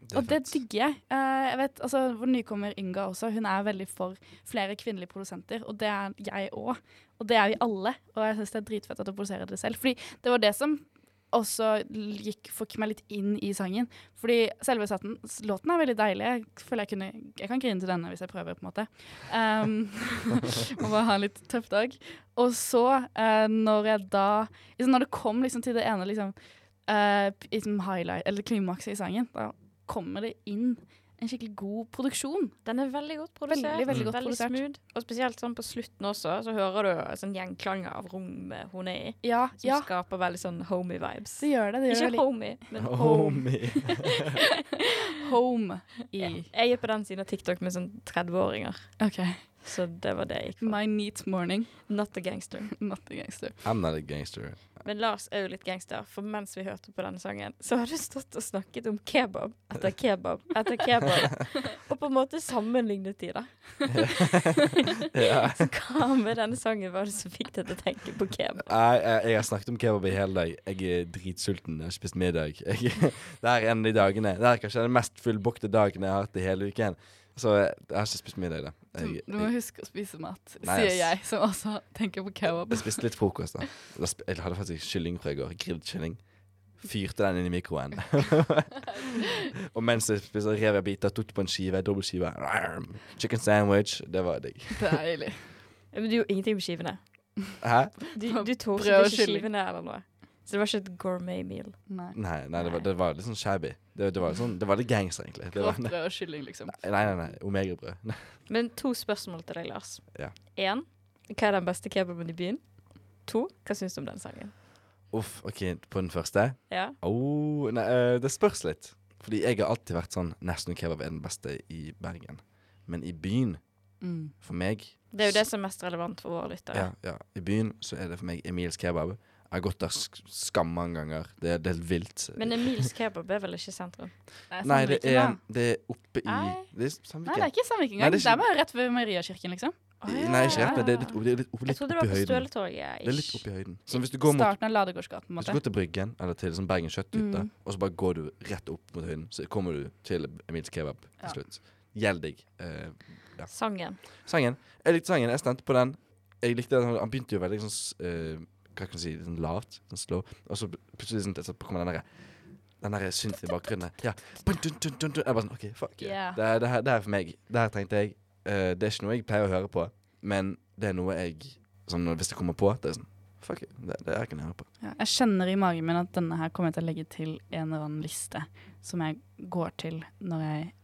Speaker 4: Det er
Speaker 5: Og det
Speaker 4: fett.
Speaker 5: digger jeg. Eh, jeg vet, altså, Vår nykommer Inga også, hun er veldig for flere kvinnelige produsenter. Og det er jeg òg. Og det er vi alle. Og jeg syns det er dritfett at hun produserer det selv. Fordi det var det som også l- gikk, fikk meg litt inn i sangen. Fordi selve satten, s- låten er veldig deilig. Jeg føler jeg kunne Jeg kan grine til denne hvis jeg prøver, på en måte. Um, må bare ha en litt tøff dag. Og så, eh, når jeg da liksom, Når det kom liksom til det ene liksom, eh, p- liksom highlight, eller klimakset i sangen, da kommer det inn en skikkelig god produksjon.
Speaker 3: Den er veldig godt produsert.
Speaker 5: Veldig, veldig godt
Speaker 3: veldig
Speaker 5: produsert.
Speaker 3: smooth. Og spesielt sånn på slutten også, så hører du sånn gjenklange av rommet hun er i,
Speaker 5: Ja,
Speaker 3: som
Speaker 5: ja.
Speaker 3: skaper veldig sånn homie vibes.
Speaker 5: Det gjør det. det gjør
Speaker 3: Ikke
Speaker 5: det veldig-
Speaker 3: homie, men home.
Speaker 4: Homie.
Speaker 5: home i
Speaker 3: Jeg er på den siden av TikTok med sånn 30-åringer,
Speaker 5: OK.
Speaker 3: så det var det jeg gikk for.
Speaker 5: My neat morning.
Speaker 3: Not a gangster.
Speaker 5: Not the gangster.
Speaker 4: I'm not a gangster.
Speaker 3: Men Lars er jo litt gangster, for mens vi hørte på denne sangen, så har du stått og snakket om kebab etter kebab etter kebab, og på en måte sammenlignet de, da.
Speaker 4: Ja.
Speaker 3: Så hva med denne sangen var det som fikk deg til å tenke på kebab?
Speaker 4: Nei, jeg, jeg har snakket om kebab i hele dag. Jeg er dritsulten. Jeg har ikke spist middag. Jeg, det er en av de dagene. Det er kanskje den mest fullbokte dagen jeg har hatt i hele uken. Så jeg, jeg har ikke spist middag, da.
Speaker 5: Du,
Speaker 4: Jeg,
Speaker 5: du må
Speaker 4: jeg,
Speaker 5: huske å spise mat,
Speaker 4: Nei,
Speaker 5: sier
Speaker 4: ass.
Speaker 5: jeg, som også tenker på kebab.
Speaker 4: jeg spiste litt frokost, da. Jeg sp- Jeg hadde faktisk kylling fra i går. Grilled kylling. Fyrte den inn i mikroen. Og mens jeg spiste, rev jeg biter, tok det på en skive, dobbeltskive. Chicken sandwich. Det var digg.
Speaker 5: Deilig.
Speaker 3: Men du gjorde ingenting med skivene.
Speaker 4: Hæ?
Speaker 3: Du, du tok
Speaker 5: Brød og
Speaker 3: ikke
Speaker 5: kylling.
Speaker 3: skivene eller noe. Så det var ikke et gourmet meal.
Speaker 5: Nei.
Speaker 4: Nei, nei det, var, det var litt sånn shabby. Det, det, var, litt sånn, det var litt gangster, egentlig. Det var,
Speaker 5: Rått brød og kylling, liksom.
Speaker 4: nei, nei, nei. Omegabrød.
Speaker 3: Men to spørsmål til deg, Lars.
Speaker 4: Ja.
Speaker 3: En, hva er den beste kebaben i byen? To, hva syns du om den sangen?
Speaker 4: Uff, OK, på den første.
Speaker 3: Ja.
Speaker 4: Oh, nei, eh, det spørs litt. Fordi jeg har alltid vært sånn Nesten kebab er den beste i Bergen. Men i byen,
Speaker 5: Mm.
Speaker 4: for meg
Speaker 3: Det er jo det som er mest relevant for våre lyttere.
Speaker 4: ja, ja, I byen så er det for meg Emils kebab. Jeg har gått der sk skammange ganger. Det, er- det er vilt.
Speaker 3: Men Emils kebab er vel ikke sentrum?
Speaker 4: Nei, det er,
Speaker 5: Sandviken, da.
Speaker 4: det er oppe i
Speaker 5: Nei.
Speaker 4: Det er
Speaker 5: Nei, det er
Speaker 4: Sandviken.
Speaker 5: ikke Sandviken
Speaker 4: Nei,
Speaker 5: engang.
Speaker 4: det
Speaker 5: Det,
Speaker 4: er
Speaker 5: er bare rett ved Mariakirken, liksom.
Speaker 4: Nei, ikke rett, men det er litt, opp- det er litt, opp-
Speaker 3: Jeg
Speaker 4: litt
Speaker 3: trodde det
Speaker 4: oppe i
Speaker 3: var på
Speaker 4: høyden.
Speaker 3: Støletorget.
Speaker 4: Det er litt oppe i høyden. Så hvis du går mot
Speaker 5: Starten av Ladegårdsgaten, på en
Speaker 4: hvis
Speaker 5: måte.
Speaker 4: du går til Bryggen, eller til sånn Bergen Kjøtthytte,
Speaker 5: Mm.
Speaker 4: og så bare går du rett opp mot høyden, så kommer du til Emils kebab
Speaker 5: Ja.
Speaker 4: til slutt. Gjeld deg. Eh,
Speaker 3: Sangen.
Speaker 4: Sangen. Jeg likte sangen. Jeg stemte på den. Jeg likte at Han han begynte jo veldig sånn s- eh, Hva kan jeg si? Sånn lavt. Sånn slow. Og så plutselig sånn, så kommer den derre den der synth i bakgrunnen. Ja. Bun, dun, dun, dun, dun. Jeg bare sånn, OK, fuck.
Speaker 5: Ja.
Speaker 4: yeah. Det, er- det, her, det her er for meg. Det her tenkte jeg. eh, det er ikke noe jeg pleier å høre på, men det er noe jeg sånn, Hvis det kommer på, det er sånn Fuck it. Det, det her kan jeg høre på.
Speaker 5: Ja, jeg kjenner i magen min at denne her kommer jeg til å legge til en eller annen liste som jeg går til når jeg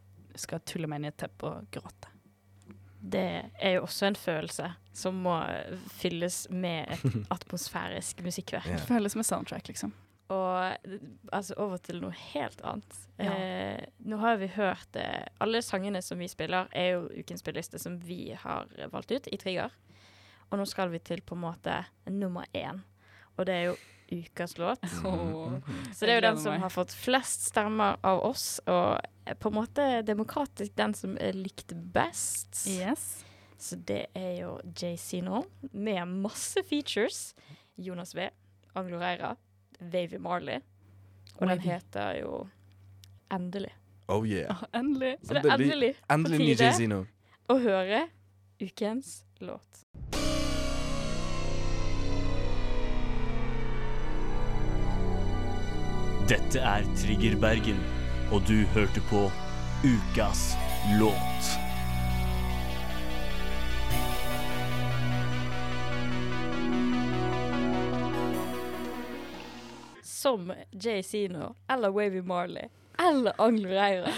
Speaker 5: skal tulle meg inn i et teppe og gråte.
Speaker 3: Det er jo også en følelse som må fylles med et atmosfærisk musikkverk.
Speaker 4: Ja.
Speaker 5: Det føles som et soundtrack, liksom.
Speaker 3: Og eh, altså over til noe helt annet.
Speaker 5: Ja.
Speaker 3: Eh, nå har vi hørt eh, Alle sangene som vi spiller, er jo ukens spilleliste som vi har eh, valgt ut i Trigger. Og nå skal vi til på en måte nummer én. Og det er jo ukas låt.
Speaker 4: Mm.
Speaker 3: Så det er
Speaker 5: Jeg
Speaker 3: jo den
Speaker 5: gleder
Speaker 3: som
Speaker 5: meg.
Speaker 3: har fått flest stemmer av oss, og eh, på en måte demokratisk den som er likt best.
Speaker 5: Yes.
Speaker 3: Så det er jo JC nå, med masse features. Jonas V, Anglo Reira, Wavy Marley. Og den
Speaker 5: Wavy.
Speaker 3: heter jo Endelig.
Speaker 4: Oh yeah.
Speaker 5: Endelig.
Speaker 3: Så det er endelig
Speaker 4: Endelig, endelig ny
Speaker 3: tide.
Speaker 4: Jay-Z nå.
Speaker 3: å høre ukens låt.
Speaker 8: Dette er Trigger Bergen, og du hørte på Ukas låt.
Speaker 3: Som JC nå, eller Wavy Marley, eller Anglo Reira,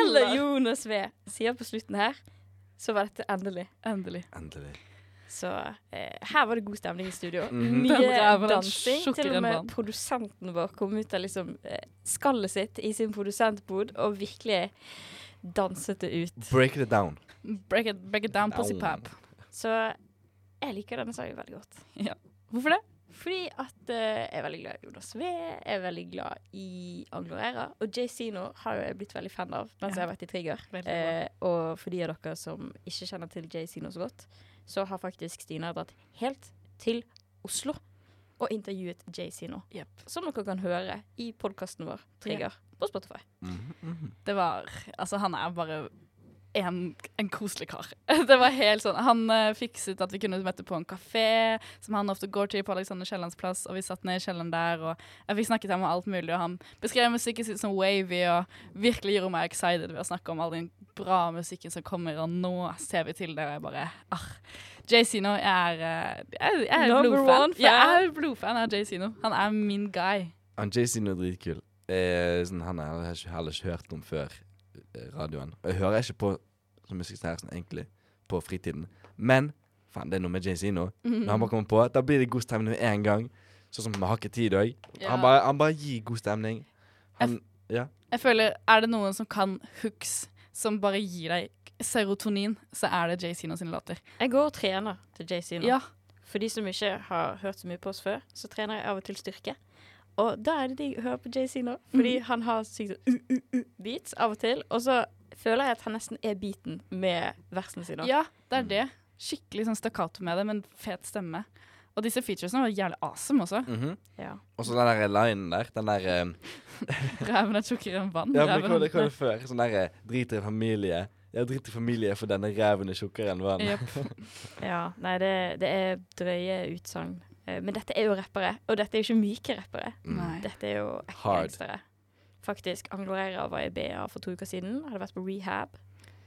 Speaker 3: eller Jonas V sier på slutten her, så var dette endelig.
Speaker 5: Endelig.
Speaker 4: Endelig.
Speaker 3: Så eh, her var det god stemning i studio.
Speaker 5: Den
Speaker 3: Mye
Speaker 5: ræva, den
Speaker 3: dansing. Til og med
Speaker 5: sukkerrennbanen.
Speaker 3: produsenten vår kom ut av liksom eh, skallet sitt i sin produsentbod og virkelig danset det ut.
Speaker 4: Break it down.
Speaker 5: Break it, break it down, pussy pap.
Speaker 3: Så jeg liker denne sangen veldig godt.
Speaker 5: Hvorfor det?
Speaker 3: Fordi at eh, jeg er veldig glad i Jonas V, jeg er veldig glad i Anglo Era. Og JC nå har jo jeg blitt veldig fan av mens
Speaker 5: Ja.
Speaker 3: jeg har vært i Trigger.
Speaker 5: Veldig bra.
Speaker 3: Eh, og for de av dere som ikke kjenner til JC nå så godt, så har faktisk Stina dratt helt til Oslo og intervjuet JC nå.
Speaker 5: Jepp.
Speaker 3: Som dere kan høre i podkasten vår Trigger på Spotify.
Speaker 5: Det var Altså, han er bare en, en koselig kar. Det var helt sånn Han eh, fikset at vi kunne møte på en kafé, som han ofte går til på Alexander Kiellands plass, og vi satt ned i kjelleren der, og jeg fikk snakket til ham om alt mulig, og han beskrev musikken sin som wavy, og virkelig gjorde meg excited ved å snakke om all den bra musikken som kommer, og nå ser vi til det, og jeg bare ah. JC nå er eh, Jeg, jeg er
Speaker 3: Number
Speaker 5: blodfan.
Speaker 3: one fan.
Speaker 5: Ja, jeg er blodfan av JC nå. Han er min guy.
Speaker 4: Han Jay-Z er dritkul. Eh, sånn, han har jeg ikke- heller ikke hørt om før eh, radioen. Og jeg hører ikke på sånn musikk som her, sånn, egentlig, på fritiden. Men faen, det er noe med Jay-Z nå.
Speaker 5: Mhm.
Speaker 4: Når han bare kommer på, da blir det god stemning med en gang. Sånn som vi har ikke tid òg.
Speaker 5: Ja.
Speaker 4: Han, bare- han bare gir god stemning. Han, ja.
Speaker 5: Jeg føler, Er det noen som kan hooks som bare gir deg serotonin, så er det Jay Zino sine låter.
Speaker 3: Jeg går og trener til JC nå.
Speaker 5: Ja.
Speaker 3: For de som ikke har hørt så mye på oss før, så trener jeg av og til styrke. Og da er det digg å høre på JC nå, fordi han har sykt sånn uh-uh-uh-beats av og til. Og så føler jeg at han nesten er beaten med versene sine.
Speaker 5: ja, det
Speaker 4: Mm.
Speaker 5: er det. Skikkelig sånn stakkato med det, men fet stemme. Og disse featuresene var jævlig awesome også.
Speaker 4: mhm.
Speaker 3: Ja.
Speaker 4: Og så den der linen der. Den der eh,
Speaker 5: Ræven er tjukkere enn vann.
Speaker 4: Ja, men
Speaker 5: ræven-
Speaker 4: hva var det, hva var det før? Sånn der eh, Drit i familie. Ja, drit i familie, for denne ræven er tjukkere enn vann.
Speaker 5: Jep.
Speaker 3: Ja, nei, det, det er drøye utsagn. Eh, Men dette er jo rappere, og dette er jo ikke myke rappere.
Speaker 4: Mm.
Speaker 5: Nei.
Speaker 3: Dette er jo ekte
Speaker 4: Hard.
Speaker 3: gangstere. Faktisk, Anglorera var i BA for to uker siden. Hadde vært på rehab.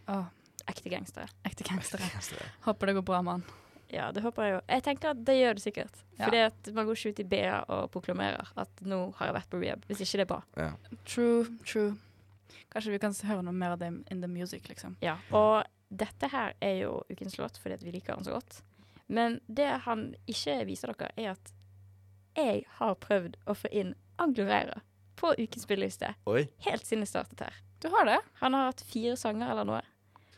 Speaker 5: Åh,
Speaker 3: Ekte gangstere.
Speaker 5: ekte gangstere.
Speaker 4: Gangstere.
Speaker 5: Håper det går bra med han.
Speaker 3: Ja, det håper jeg jo. Jeg tenkte at det gjør det sikkert.
Speaker 5: Ja.
Speaker 3: Fordi at man går ikke ut i BA og proklamerer at nå har jeg vært på rehab, hvis ikke det er bra.
Speaker 4: Ja.
Speaker 5: True, true. Kanskje vi kan s- høre noe mer av det in the music, liksom.
Speaker 3: Ja, og dette her er jo ukens låt fordi at vi liker han så godt. Men det han ikke viser dere, er at jeg har prøvd å få inn Anglorera på ukens spilleliste
Speaker 4: Oi.
Speaker 3: helt siden jeg startet her.
Speaker 5: Du har det?
Speaker 3: Han har hatt fire sanger eller noe,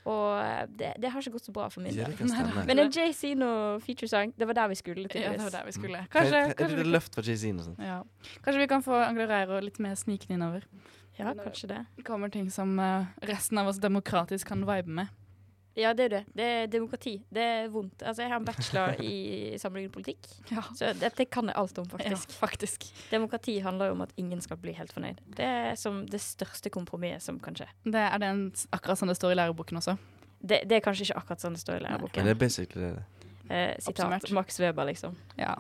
Speaker 3: og eh, det, det har ikke gått så bra for min
Speaker 4: Ja,
Speaker 3: del.
Speaker 4: det kan stemme.
Speaker 3: Men en JC no featuresang, det var der vi skulle
Speaker 5: Ja, det var
Speaker 3: tydeligvis.
Speaker 5: der vi skulle.
Speaker 4: Er
Speaker 5: Kanskje,
Speaker 4: det- er
Speaker 5: kanskje,
Speaker 4: det
Speaker 5: vi,
Speaker 4: løft fra Jay-Z og sånt?
Speaker 5: kan- ja. kanskje vi kan få Anglerero litt mer snikende innover.
Speaker 3: Ja, kanskje det.
Speaker 5: kommer ting som eh, resten av oss demokratisk kan vibe med.
Speaker 3: Ja, det er det. Det er demokrati. Det er vondt. Altså, jeg har en bachelor i sammenlignende politikk,
Speaker 5: Ja,
Speaker 3: så dette kan jeg alt om, faktisk.
Speaker 5: faktisk. faktisk.
Speaker 3: Demokrati handler jo om at ingen skal bli helt fornøyd. Det er som det største kompromisset som kan skje.
Speaker 5: Det er det en, akkurat sånn det står i læreboken også.
Speaker 3: Det, det er kanskje ikke akkurat sånn det står i
Speaker 4: Men
Speaker 3: læreboken.
Speaker 4: det er basically det. det.
Speaker 3: Eh, sitat
Speaker 5: Oppsummert.
Speaker 3: Max Weber, liksom.
Speaker 5: Ja.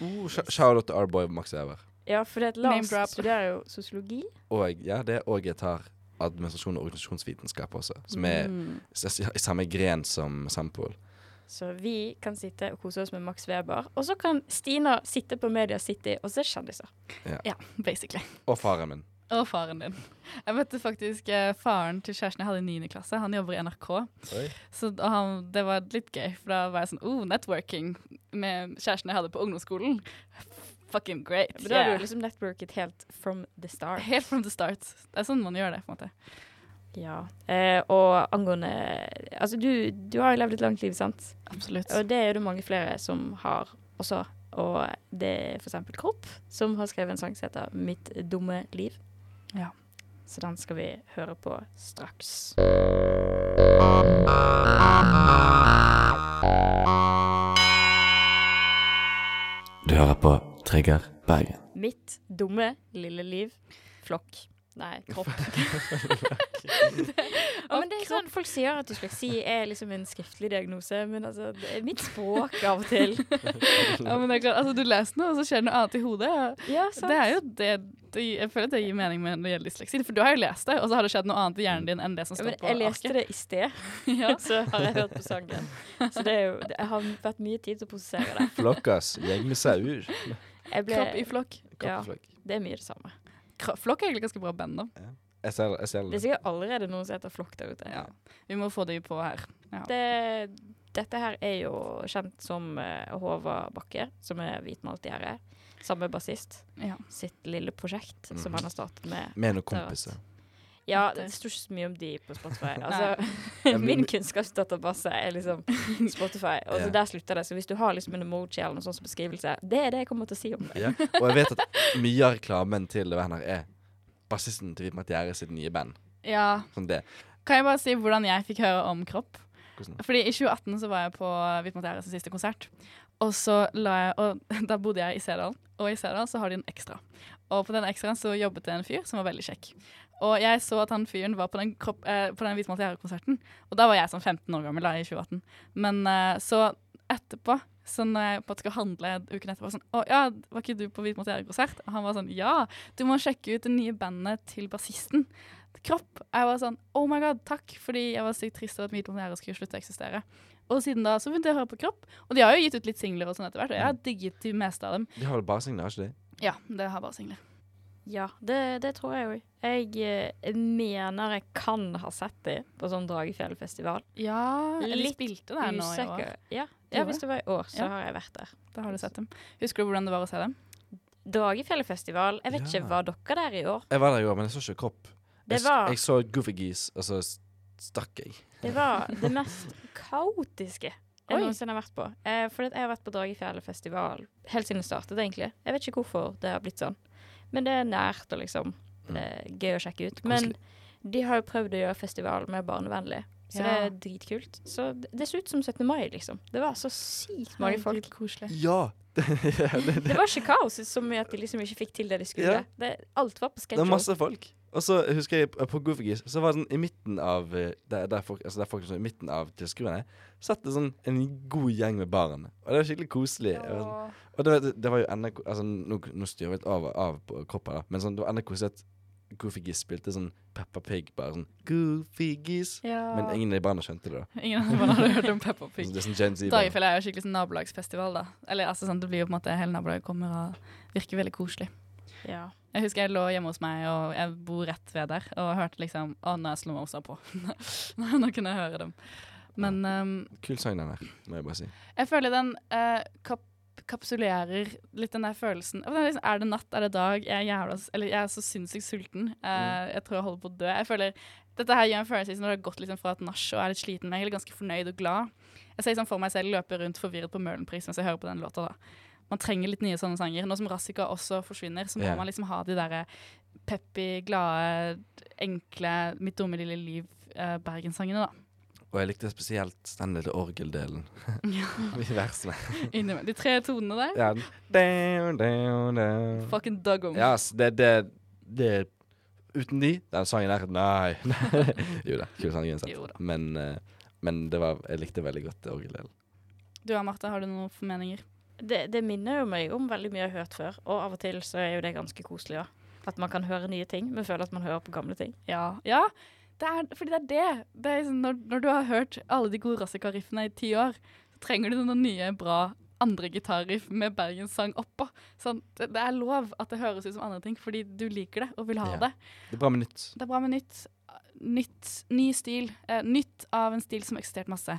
Speaker 4: Uh, sh- Shout out til R-boy Max Weber.
Speaker 3: Ja, for det at
Speaker 5: Name
Speaker 3: Lars
Speaker 5: drop.
Speaker 3: studerer jo sosiologi.
Speaker 4: Og ja, det og jeg tar administrasjon og organisasjonsvitenskap også, som er
Speaker 5: Mm.
Speaker 4: s- i samme gren som Sampol.
Speaker 3: Så vi kan sitte og kose oss med Max Weber. Og så kan Stina sitte på Media City og se kjendiser.
Speaker 5: Basically.
Speaker 4: Og faren min.
Speaker 5: Og faren din. Jeg møtte faktisk eh, faren til kjæresten jeg hadde i 9. klasse. Han jobber i NRK.
Speaker 4: Oi.
Speaker 5: Så da han, det var litt gøy, for da var jeg sånn Oh, networking med kjæresten jeg hadde på ungdomsskolen. Fucking great.
Speaker 3: Men da har
Speaker 5: yeah.
Speaker 3: du liksom networket helt from the start.
Speaker 5: Helt from the start. Det er sånn man gjør det. på en måte.
Speaker 3: Ja. Eh, og angående Altså, du, du har jo levd et langt liv, sant?
Speaker 5: Absolutt.
Speaker 3: Og det er det mange flere som har også. Og det er for eksempel Kropp, som har skrevet en sang som heter 'Mitt dumme liv'.
Speaker 5: Ja.
Speaker 3: Så den skal vi høre på straks.
Speaker 7: Du hører på Trigger Bergen.
Speaker 3: Mitt dumme lille liv. Flokk. Nei, kropp. ja, men det er sånn, folk sier at dysleksi er liksom en skriftlig diagnose, men altså, det er mitt språk av og til.
Speaker 5: Ja, men det er klart, altså, du leser noe, og så skjer det noe annet i hodet.
Speaker 3: Ja,
Speaker 5: Det er jo det, det Jeg føler at det gir mening med når det gjelder dysleksi. For du har jo lest det, og så har det skjedd noe annet i hjernen din enn det som
Speaker 3: Mm. Ja,
Speaker 5: står
Speaker 3: men
Speaker 5: på
Speaker 3: jeg leste det i sted,
Speaker 5: Ja.
Speaker 3: så har jeg hørt på sangen. Så det er jo, det, jeg har vært mye tid til å prosessere det.
Speaker 4: Flokkas, gjeng med sauer.
Speaker 3: Jeg ble,
Speaker 5: Kropp i flokk.
Speaker 3: ja,
Speaker 4: Kappeflokk.
Speaker 3: det er mye det samme.
Speaker 5: Kro- Flokk er egentlig ganske bra band, da.
Speaker 4: Jeg ser jeg ser
Speaker 3: Det er
Speaker 4: det.
Speaker 3: sikkert allerede noen som heter flokk der ute.
Speaker 5: Ja. Vi må få de på her.
Speaker 3: det, dette her er jo kjent som eh, Håvard Bakke, som er hvitmaltgjerde. Samme bassist.
Speaker 5: Ja.
Speaker 3: Sitt lille prosjekt
Speaker 4: Mhm.
Speaker 3: som han har startet med.
Speaker 4: Med noen kompiser.
Speaker 3: Ja, det står ikke så mye om de på Spotify.
Speaker 4: Ja,
Speaker 3: Altså,
Speaker 4: men-
Speaker 3: min kunnskapsdatabasse er liksom Spotify, og
Speaker 4: Ja.
Speaker 3: så der slutter det. Så hvis du har liksom en emoji eller noe sånt som beskrivelse, det er det jeg kommer til å si om det.
Speaker 4: Ja. Og jeg vet at mye av reklamen til det bandet her er bassisten til Vimat Gjerde sitt nye band.
Speaker 5: ja.
Speaker 4: Sånn det.
Speaker 5: Kan jeg bare si hvordan jeg fikk høre om kropp?
Speaker 4: Hvordan da?
Speaker 5: Fordi I 2018 så var jeg på Vitmatæres siste konsert. Og så la jeg, og da bodde jeg i Sædalen, og i Sædalen så har de en ekstra. Og på den ekstraen så jobbet det en fyr som var veldig kjekk. Og jeg så at han fyren var på den, kropp, eh, på den Vitmatære-konserten, og da var jeg sånn 15 år gammel da, i 2018. Men eh, så etterpå, så når jeg på en måte skal handle uken etterpå, sånn Å ja, var ikke du på Vitmatære-konsert? Og han var sånn Ja, du må sjekke ut det nye bandet til bassisten kropp. Jeg var sånn Oh my god, takk, fordi jeg var sykt trist over at Midtland Gjerde skulle slutte å eksistere. Og siden da så begynte jeg å høre på kropp. Og de har jo gitt ut litt singler og sånn etter hvert, og jeg har digget de meste av dem.
Speaker 4: De har vel bare signer, har ikke de?
Speaker 5: Ja, det har bare singler.
Speaker 3: Ja, det, det tror jeg òg. Jeg eh, mener jeg kan ha sett dem på sånn Dragefjellfestival.
Speaker 5: Ja,
Speaker 3: Litt
Speaker 5: litt spilte der nå i år.
Speaker 3: Usikker. Ja,
Speaker 5: Gjorde
Speaker 3: ja, hvis det var i år, så
Speaker 5: Ja.
Speaker 3: har jeg vært der.
Speaker 5: Da har du sett dem. Husker du hvordan det var å se dem?
Speaker 3: Dragefjellfestival. Jeg vet
Speaker 4: Ja.
Speaker 3: ikke, var dere der i år?
Speaker 4: Jeg var der i år, men jeg så ikke Kropp.
Speaker 3: Det
Speaker 4: Jeg, s-
Speaker 3: var,
Speaker 4: jeg så Goofy Geese, og så s- stakk jeg.
Speaker 3: det, var det mest kaotiske
Speaker 5: Oi.
Speaker 3: jeg noensinne har vært på. Eh, for jeg har vært på Dragefjellfestival helt siden det startet, egentlig. Jeg vet ikke hvorfor det har blitt sånn. Men det er nært og liksom eh, gøy å sjekke ut. Men
Speaker 4: Mm. Koselig.
Speaker 3: de har jo prøvd å gjøre festivalen mer barnevennlig. Så det
Speaker 5: Ja.
Speaker 3: er dritkult. Så det, det så ut som 17. mai, liksom. Det var så sykt mange folk.
Speaker 5: Herregud, koselig.
Speaker 4: Ja! det, det,
Speaker 3: Det var ikke kaos som i at de liksom ikke fikk til det de skulle.
Speaker 4: Ja.
Speaker 3: Det, alt var på
Speaker 4: Det var
Speaker 3: schedule.
Speaker 4: masse folk. Og så husker jeg eh, på Goofy Geese, så var det sånn i midten av eh, Der, der folk, altså der folk som er i midten av tilskuerne, satt det sånn en god gjeng med barn. Og det var skikkelig koselig. Jeg var sånn- Og det, var- det var jo enda ko- Altså, nå, nå styrer vi litt av, av på kropper, da, men sånn, det var enda koselig at Goofy Geese spilte sånn Peppa Pig, bare sånn Goofy Geese.
Speaker 5: Ja.
Speaker 4: Men ingen i barna skjønte det, da.
Speaker 5: Ingen andre barn hadde hørt om Peppa
Speaker 4: Så
Speaker 5: Pig.
Speaker 4: det er sånn Gen Z. barn.
Speaker 5: Dragefjell er jo skikkelig sånn nabolagsfestival, da. Eller altså sånn, det blir jo på en måte hele nabolaget kommer og virker veldig koselig.
Speaker 3: Ja.
Speaker 5: Jeg husker jeg lå hjemme hos meg, og jeg bor rett ved der, og hørte liksom Å, nå er Slow Mosa på. nå kunne jeg høre dem. Men ehm,
Speaker 4: Kul sang, den her, må jeg bare si.
Speaker 5: jeg føler den eh, kap kapsulerer litt den der følelsen Å, det er, liksom, er det natt, er det dag? Jeg er, jævla, s- eller, jeg er så sinnssykt sulten. Eh,
Speaker 4: Mm.
Speaker 5: Jeg tror jeg holder på å dø. Jeg føler dette her gjør en følelse som når det har gått liksom fra et nach og er litt sliten, men jeg er ganske fornøyd og glad. Jeg ser liksom for meg selv løpe rundt forvirret på Møhlenpris mens jeg hører på den låta. da. Man trenger litt nye sånne sanger. Nå som Rassika også forsvinner, så må
Speaker 4: Ja.
Speaker 5: man liksom ha de derre peppy, glade, enkle Mitt dumme lille liv eh, Bergenssangene, da.
Speaker 4: Og jeg likte spesielt den lille orgeldelen i versene.
Speaker 5: Innimellom. De tre tonene der.
Speaker 4: Ja, den. Down, down, down.
Speaker 5: Fucking dug 'em.
Speaker 4: Ja, ass, det, det, det Uten de, den sangen der Nei. jo da, kul sang uansett.
Speaker 5: Jo da.
Speaker 4: Men, eh, men det var, jeg likte veldig godt orgeldelen.
Speaker 5: Du og Martha, har du noen formeninger?
Speaker 3: det, det minner jo meg om veldig mye jeg har hørt før, og av og til så er jo det ganske koselig òg. At man kan høre nye ting, men føler at man hører på gamle ting.
Speaker 5: Ja. ja. Det er, fordi det er det. det er sånn, når, når du har hørt alle de gode rassika-riffene i ti år, så trenger du noen nye, bra andre gitarriff med bergenssang oppå. Sånn, det, det er lov at det høres ut som andre ting, fordi du liker det og vil ha
Speaker 4: Ja.
Speaker 5: det.
Speaker 4: Det er bra med nytt.
Speaker 5: Det er bra med nytt. Nytt, ny stil. Eh, nytt av en stil som har eksistert masse.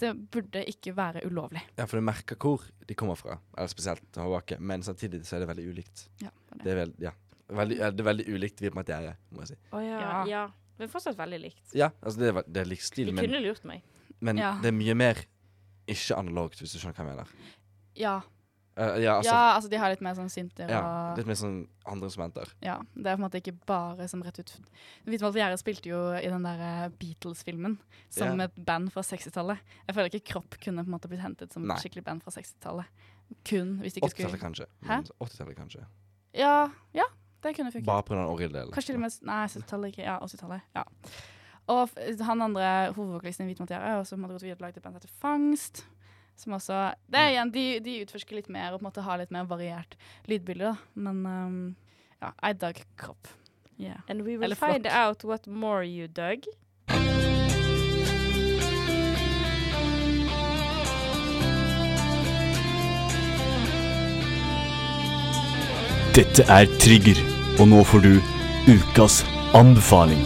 Speaker 5: Det burde ikke være ulovlig.
Speaker 4: Ja, for du merker hvor de kommer fra, eller spesielt Håvakke, men samtidig så er det veldig ulikt.
Speaker 5: Ja,
Speaker 4: Det er, veld, ja. veldig, ja, det er veldig ulikt vi på materie, må jeg si.
Speaker 3: Å ja.
Speaker 5: Ja.
Speaker 3: ja. Men fortsatt veldig likt.
Speaker 4: Ja, altså det er, vel- det er lik
Speaker 3: De
Speaker 4: stil, men,
Speaker 3: kunne lurt meg.
Speaker 4: men
Speaker 5: Ja.
Speaker 4: det er mye mer ikke analogt, hvis du skjønner hva jeg mener.
Speaker 5: Ja.
Speaker 4: Eh, ja, altså,
Speaker 5: ja, altså de har litt mer sånn synter
Speaker 4: ja,
Speaker 5: og
Speaker 4: litt mer sånn andre instrumenter.
Speaker 5: ja, Det er på en måte ikke bare som rett ut Hvitvold Gjerde spilte jo i den der eh, Beatles-filmen som
Speaker 4: Ja.
Speaker 5: et band fra 60-tallet. Jeg føler ikke Kropp kunne på en måte blitt hentet som
Speaker 4: Nei.
Speaker 5: et skikkelig band fra 60-tallet. Kun hvis de ikke
Speaker 4: 80-tallet
Speaker 5: skulle
Speaker 4: kanskje.
Speaker 5: Hæ?
Speaker 4: men 80-tallet kanskje.
Speaker 5: Ja, ja, det kunne funket.
Speaker 4: Bare på den orgeldelen.
Speaker 5: Kanskje til og med Nei, 70-tallet ikke. Ja, 80-tallet. Ja. Og f- han andre hovedvokalisten i Hvit Matiere har også på en måte gått videre og lagd et band som heter Fangst. Som også Det er igjen, de, de utforsker litt mer og på en måte har litt mer variert lydbilde, da. Men um, ja, I dug kropp. Yeah.
Speaker 3: And we will
Speaker 5: Eller
Speaker 3: find
Speaker 5: flokk.
Speaker 3: out what more you dug.
Speaker 8: Dette er Trigger, og nå får du ukas anbefaling.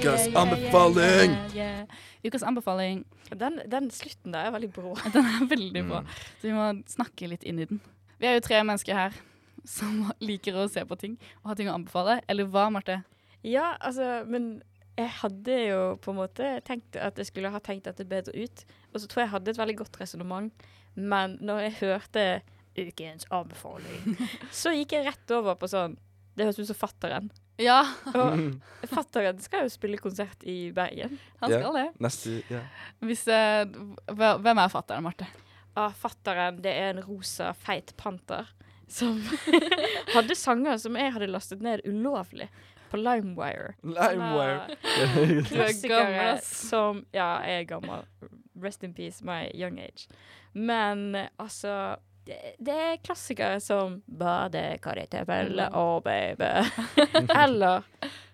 Speaker 4: Ukas anbefaling!
Speaker 5: Yeah. Ukas anbefaling
Speaker 3: Den, den slutten der er veldig brå.
Speaker 5: den er veldig bra,
Speaker 4: Mm.
Speaker 5: så vi må snakke litt inn i den. Vi er jo tre mennesker her som liker å se på ting og ha ting å anbefale. Eller hva, Marte?
Speaker 3: Ja, altså, men jeg hadde jo på en måte tenkt at jeg skulle ha tenkt dette bedre ut. Og så tror jeg jeg hadde et veldig godt resonnement, men når jeg hørte ukens anbefaling, så gikk jeg rett over på sånn Det høres ut som Fatteren.
Speaker 5: Ja,
Speaker 3: Og Fatteren skal jo spille konsert i Bergen.
Speaker 5: han
Speaker 4: Ja.
Speaker 5: skal det.
Speaker 4: Neste, ja.
Speaker 5: Hvis, eh, hva- hvem er fatter'n, Marte?
Speaker 3: Ah, Fatteren, det er en rosa, feit panter som hadde sanger som jeg hadde lastet ned ulovlig på Limewire.
Speaker 4: Limeware.
Speaker 5: Du er gammel,
Speaker 3: klassikere
Speaker 5: ass.
Speaker 3: som Ja, jeg er gammel. Rest in peace, my young age. Men eh, altså det, det er klassikere som 'Badekar i
Speaker 5: Mm.
Speaker 3: tømmel', oh baby. Eller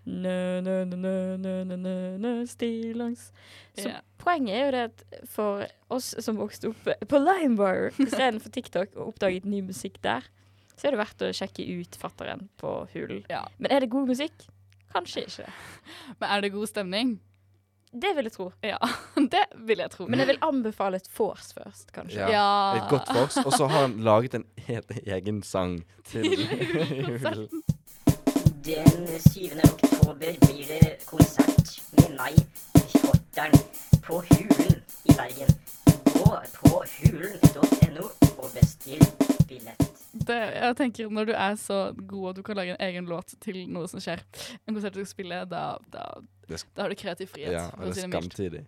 Speaker 3: nø, nø, nø, nø, nø, nø, nø, nø, stillongs. Så
Speaker 5: Ja.
Speaker 3: poenget er jo det at for oss som vokste opp på Limewire istedenfor TikTok og oppdaget ny musikk der, så er det verdt å sjekke ut fatteren på Hulen.
Speaker 5: Ja.
Speaker 3: Men er det god musikk? Kanskje ikke.
Speaker 5: Men er det god stemning?
Speaker 3: Det vil jeg tro.
Speaker 5: Ja, det vil jeg tro.
Speaker 3: Men jeg vil anbefale et vors først, kanskje.
Speaker 4: Ja. Et godt vors. Og så har han laget en helt egen sang til julen.
Speaker 9: Den 7. oktober blir det konsert med meg, Spotteren, på Hulen i Bergen. Gå på hulen.no og bestill billett.
Speaker 5: Det, jeg tenker Når du er så god at du kan lage en egen låt til noe som skjer, en konsert du skal spille, da, da,
Speaker 4: Det sk-
Speaker 5: da har du kreativ frihet.
Speaker 4: Ja,
Speaker 5: for å
Speaker 4: og
Speaker 5: si
Speaker 4: det er
Speaker 5: det mildt.
Speaker 4: skamtidig.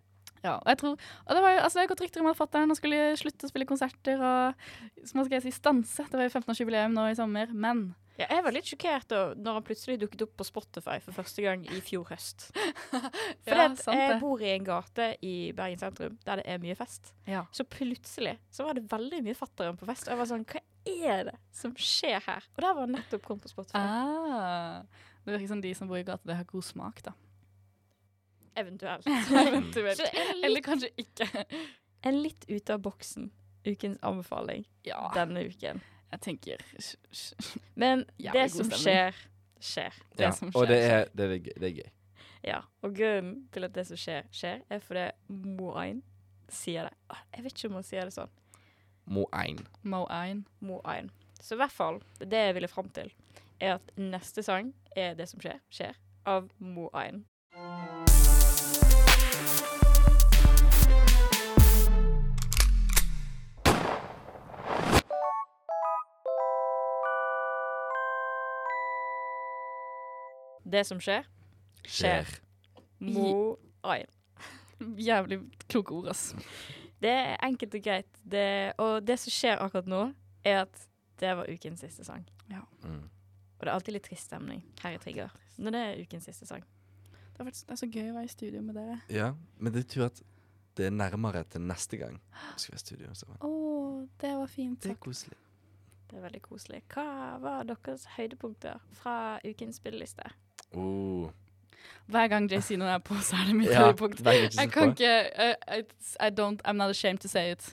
Speaker 5: Ja, og jeg tror, og det var jo, altså, det har gått rykter om at fatter'n skulle slutte å spille konserter og som man skal si, stanse. Det var jo 15-årsjubileum nå i sommer, men
Speaker 3: Ja, jeg var litt sjokkert da når han plutselig dukket opp på Spotify for første gang i fjor høst. For
Speaker 5: Ja,
Speaker 3: at
Speaker 5: sant
Speaker 3: jeg
Speaker 5: det. eh,
Speaker 3: bor i en gate i Bergen sentrum der det er mye fest.
Speaker 5: Ja.
Speaker 3: Så plutselig så var det veldig mye fatteren på fest. Og jeg var sånn Hva er det som skjer her? Og der var han nettopp kommet på Spotify.
Speaker 5: ah, Det virker som de som bor i gata, det har god smak, da.
Speaker 3: Eventuelt.
Speaker 5: Eventuelt.
Speaker 3: Så en
Speaker 5: Eller
Speaker 3: litt,
Speaker 5: kanskje ikke.
Speaker 3: en litt ute av boksen ukens anbefaling
Speaker 5: Ja,
Speaker 3: denne uken.
Speaker 5: jeg tenker sj- sj-
Speaker 3: Men
Speaker 5: Jævlig
Speaker 3: det
Speaker 5: god
Speaker 3: som
Speaker 5: stemning.
Speaker 3: skjer, skjer.
Speaker 5: Det
Speaker 4: Ja.
Speaker 5: som
Speaker 4: Og
Speaker 5: skjer,
Speaker 4: det er, det, er, gøy- det er gøy.
Speaker 3: Ja, og grunnen til at det som skjer, skjer, er fordi Moain sier det. Åh, Jeg vet ikke om han sier det sånn.
Speaker 4: Mo ein.
Speaker 5: Mo-ein.
Speaker 3: Moain. Så i hvert fall, det jeg ville fram til, er at neste sang er det som skjer, skjer, av Moain. Det som skjer, skjer. Moain.
Speaker 5: Jævlig kloke ord, ass.
Speaker 3: Det er enkelt og greit. Det, og det som skjer akkurat nå, er at det var ukens siste sang.
Speaker 5: Ja.
Speaker 4: Mm.
Speaker 3: Og det er alltid litt trist stemning her i Trigger når det er ukens siste sang.
Speaker 5: Det er, faktisk, det er så gøy å være i studio med dere.
Speaker 4: Ja, men det betyr at det er nærmere til neste gang vi skal være i studio sammen.
Speaker 5: Å, det var fint
Speaker 4: Det er
Speaker 5: sagt.
Speaker 4: koselig.
Speaker 3: Det er veldig koselig. Hva var deres høydepunkter fra ukens spilleliste?
Speaker 4: Oh.
Speaker 5: Hver gang Jay-Zino er på, så er det mitt
Speaker 4: Ja,
Speaker 5: høydepunkt.
Speaker 4: hver gang Jay-Zino er
Speaker 5: Jeg kan
Speaker 4: på.
Speaker 5: ikke eh, I, I- I don't I'm not ashamed to say it.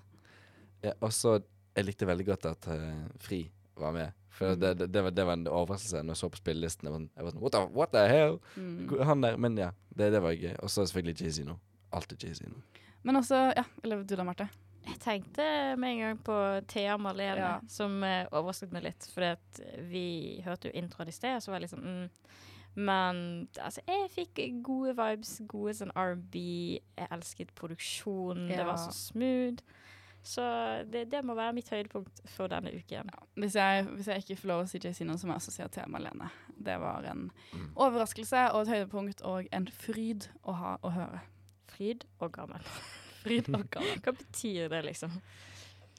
Speaker 4: Ja, og så Jeg likte veldig godt at eh, Fri var med. For det, det, det, var, det var en overraskelse når jeg så på spillelisten. Jeg var sånn- jeg var sånn What the, what the hell?
Speaker 5: Mm.
Speaker 4: Hvor- Han der. Men ja, det, det var gøy. Og så selvfølgelig Jay-Z nå. Alltid Jay-Z nå.
Speaker 5: Men også Ja, eller du da, Marte.
Speaker 3: Jeg tenkte med en gang på Thea Marlene,
Speaker 5: Ja.
Speaker 3: som eh, overrasket meg litt. Fordi at vi hørte jo introen i sted, og så var jeg liksom mm. Men altså, jeg fikk gode vibes, gode sånn R&B. Jeg elsket produksjonen, det
Speaker 5: Ja.
Speaker 3: var så smooth. Så det, det må være mitt høydepunkt for denne uken.
Speaker 5: Hvis jeg, hvis jeg ikke får lov å si Jay-Zino, så må jeg også si at Thea Malene. Det var en overraskelse og et høydepunkt og en fryd å ha å høre.
Speaker 3: Fryd og gammel.
Speaker 5: Fryd og gammel.
Speaker 3: Hva betyr det, liksom?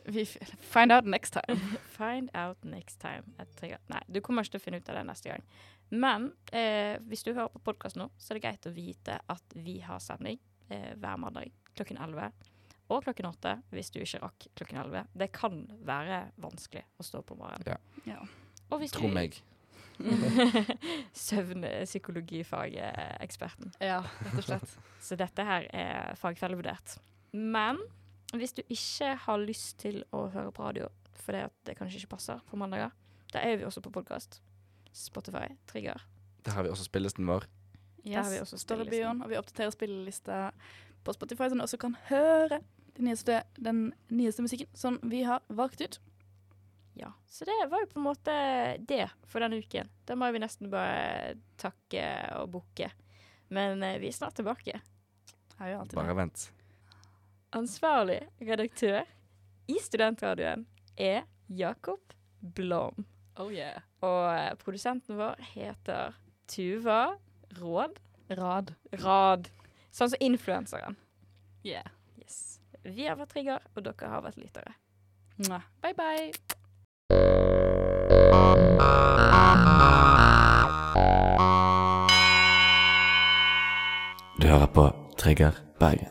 Speaker 5: Vi f- find out next time.
Speaker 3: Find out next time. Et trigger. Nei, du kommer ikke til å finne ut av det neste gang. Men eh, hvis du hører på podkast nå, så er det greit å vite at vi har sending eh, hver mandag klokken 11. Og klokken 8 hvis du ikke rakk klokken 11. Det kan være vanskelig å stå opp om morgenen.
Speaker 4: Ja.
Speaker 5: Ja.
Speaker 3: Og hvis
Speaker 4: Tro meg.
Speaker 3: du Søvnpsykologifageksperten.
Speaker 5: Ja, rett og slett.
Speaker 3: Så dette her er fagfellevurdert. Men hvis du ikke har lyst til å høre på radio fordi at det kanskje ikke passer på mandager, da er vi også på podkast. Spotify, Trigger.
Speaker 4: Der har vi også spillelisten vår.
Speaker 5: Der har vi også
Speaker 3: også
Speaker 5: står i
Speaker 3: spillelisten.
Speaker 5: bioen, og vi oppdaterer spillelista på Spotify, så du også kan høre den nyeste, den nyeste musikken som vi har valgt ut.
Speaker 3: Ja. Så det var jo på en måte det for denne uken. Da må vi nesten bare takke og bukke. Men eh, vi er snart tilbake.
Speaker 5: Jeg gjør alltid
Speaker 4: Bare vent.
Speaker 3: Ansvarlig redaktør i Studentradioen er Jakob Blom.
Speaker 5: det. Oh yeah.
Speaker 3: Og eh, produsenten vår heter Tuva Råd.
Speaker 5: Rad.
Speaker 3: Rad. Sånn som influenseren.
Speaker 5: Yeah.
Speaker 3: Yes. Vi har vært Trigger, og dere har vært lyttere.
Speaker 5: Mwah. Bye bye.
Speaker 7: Du hører på Trigger Bergen.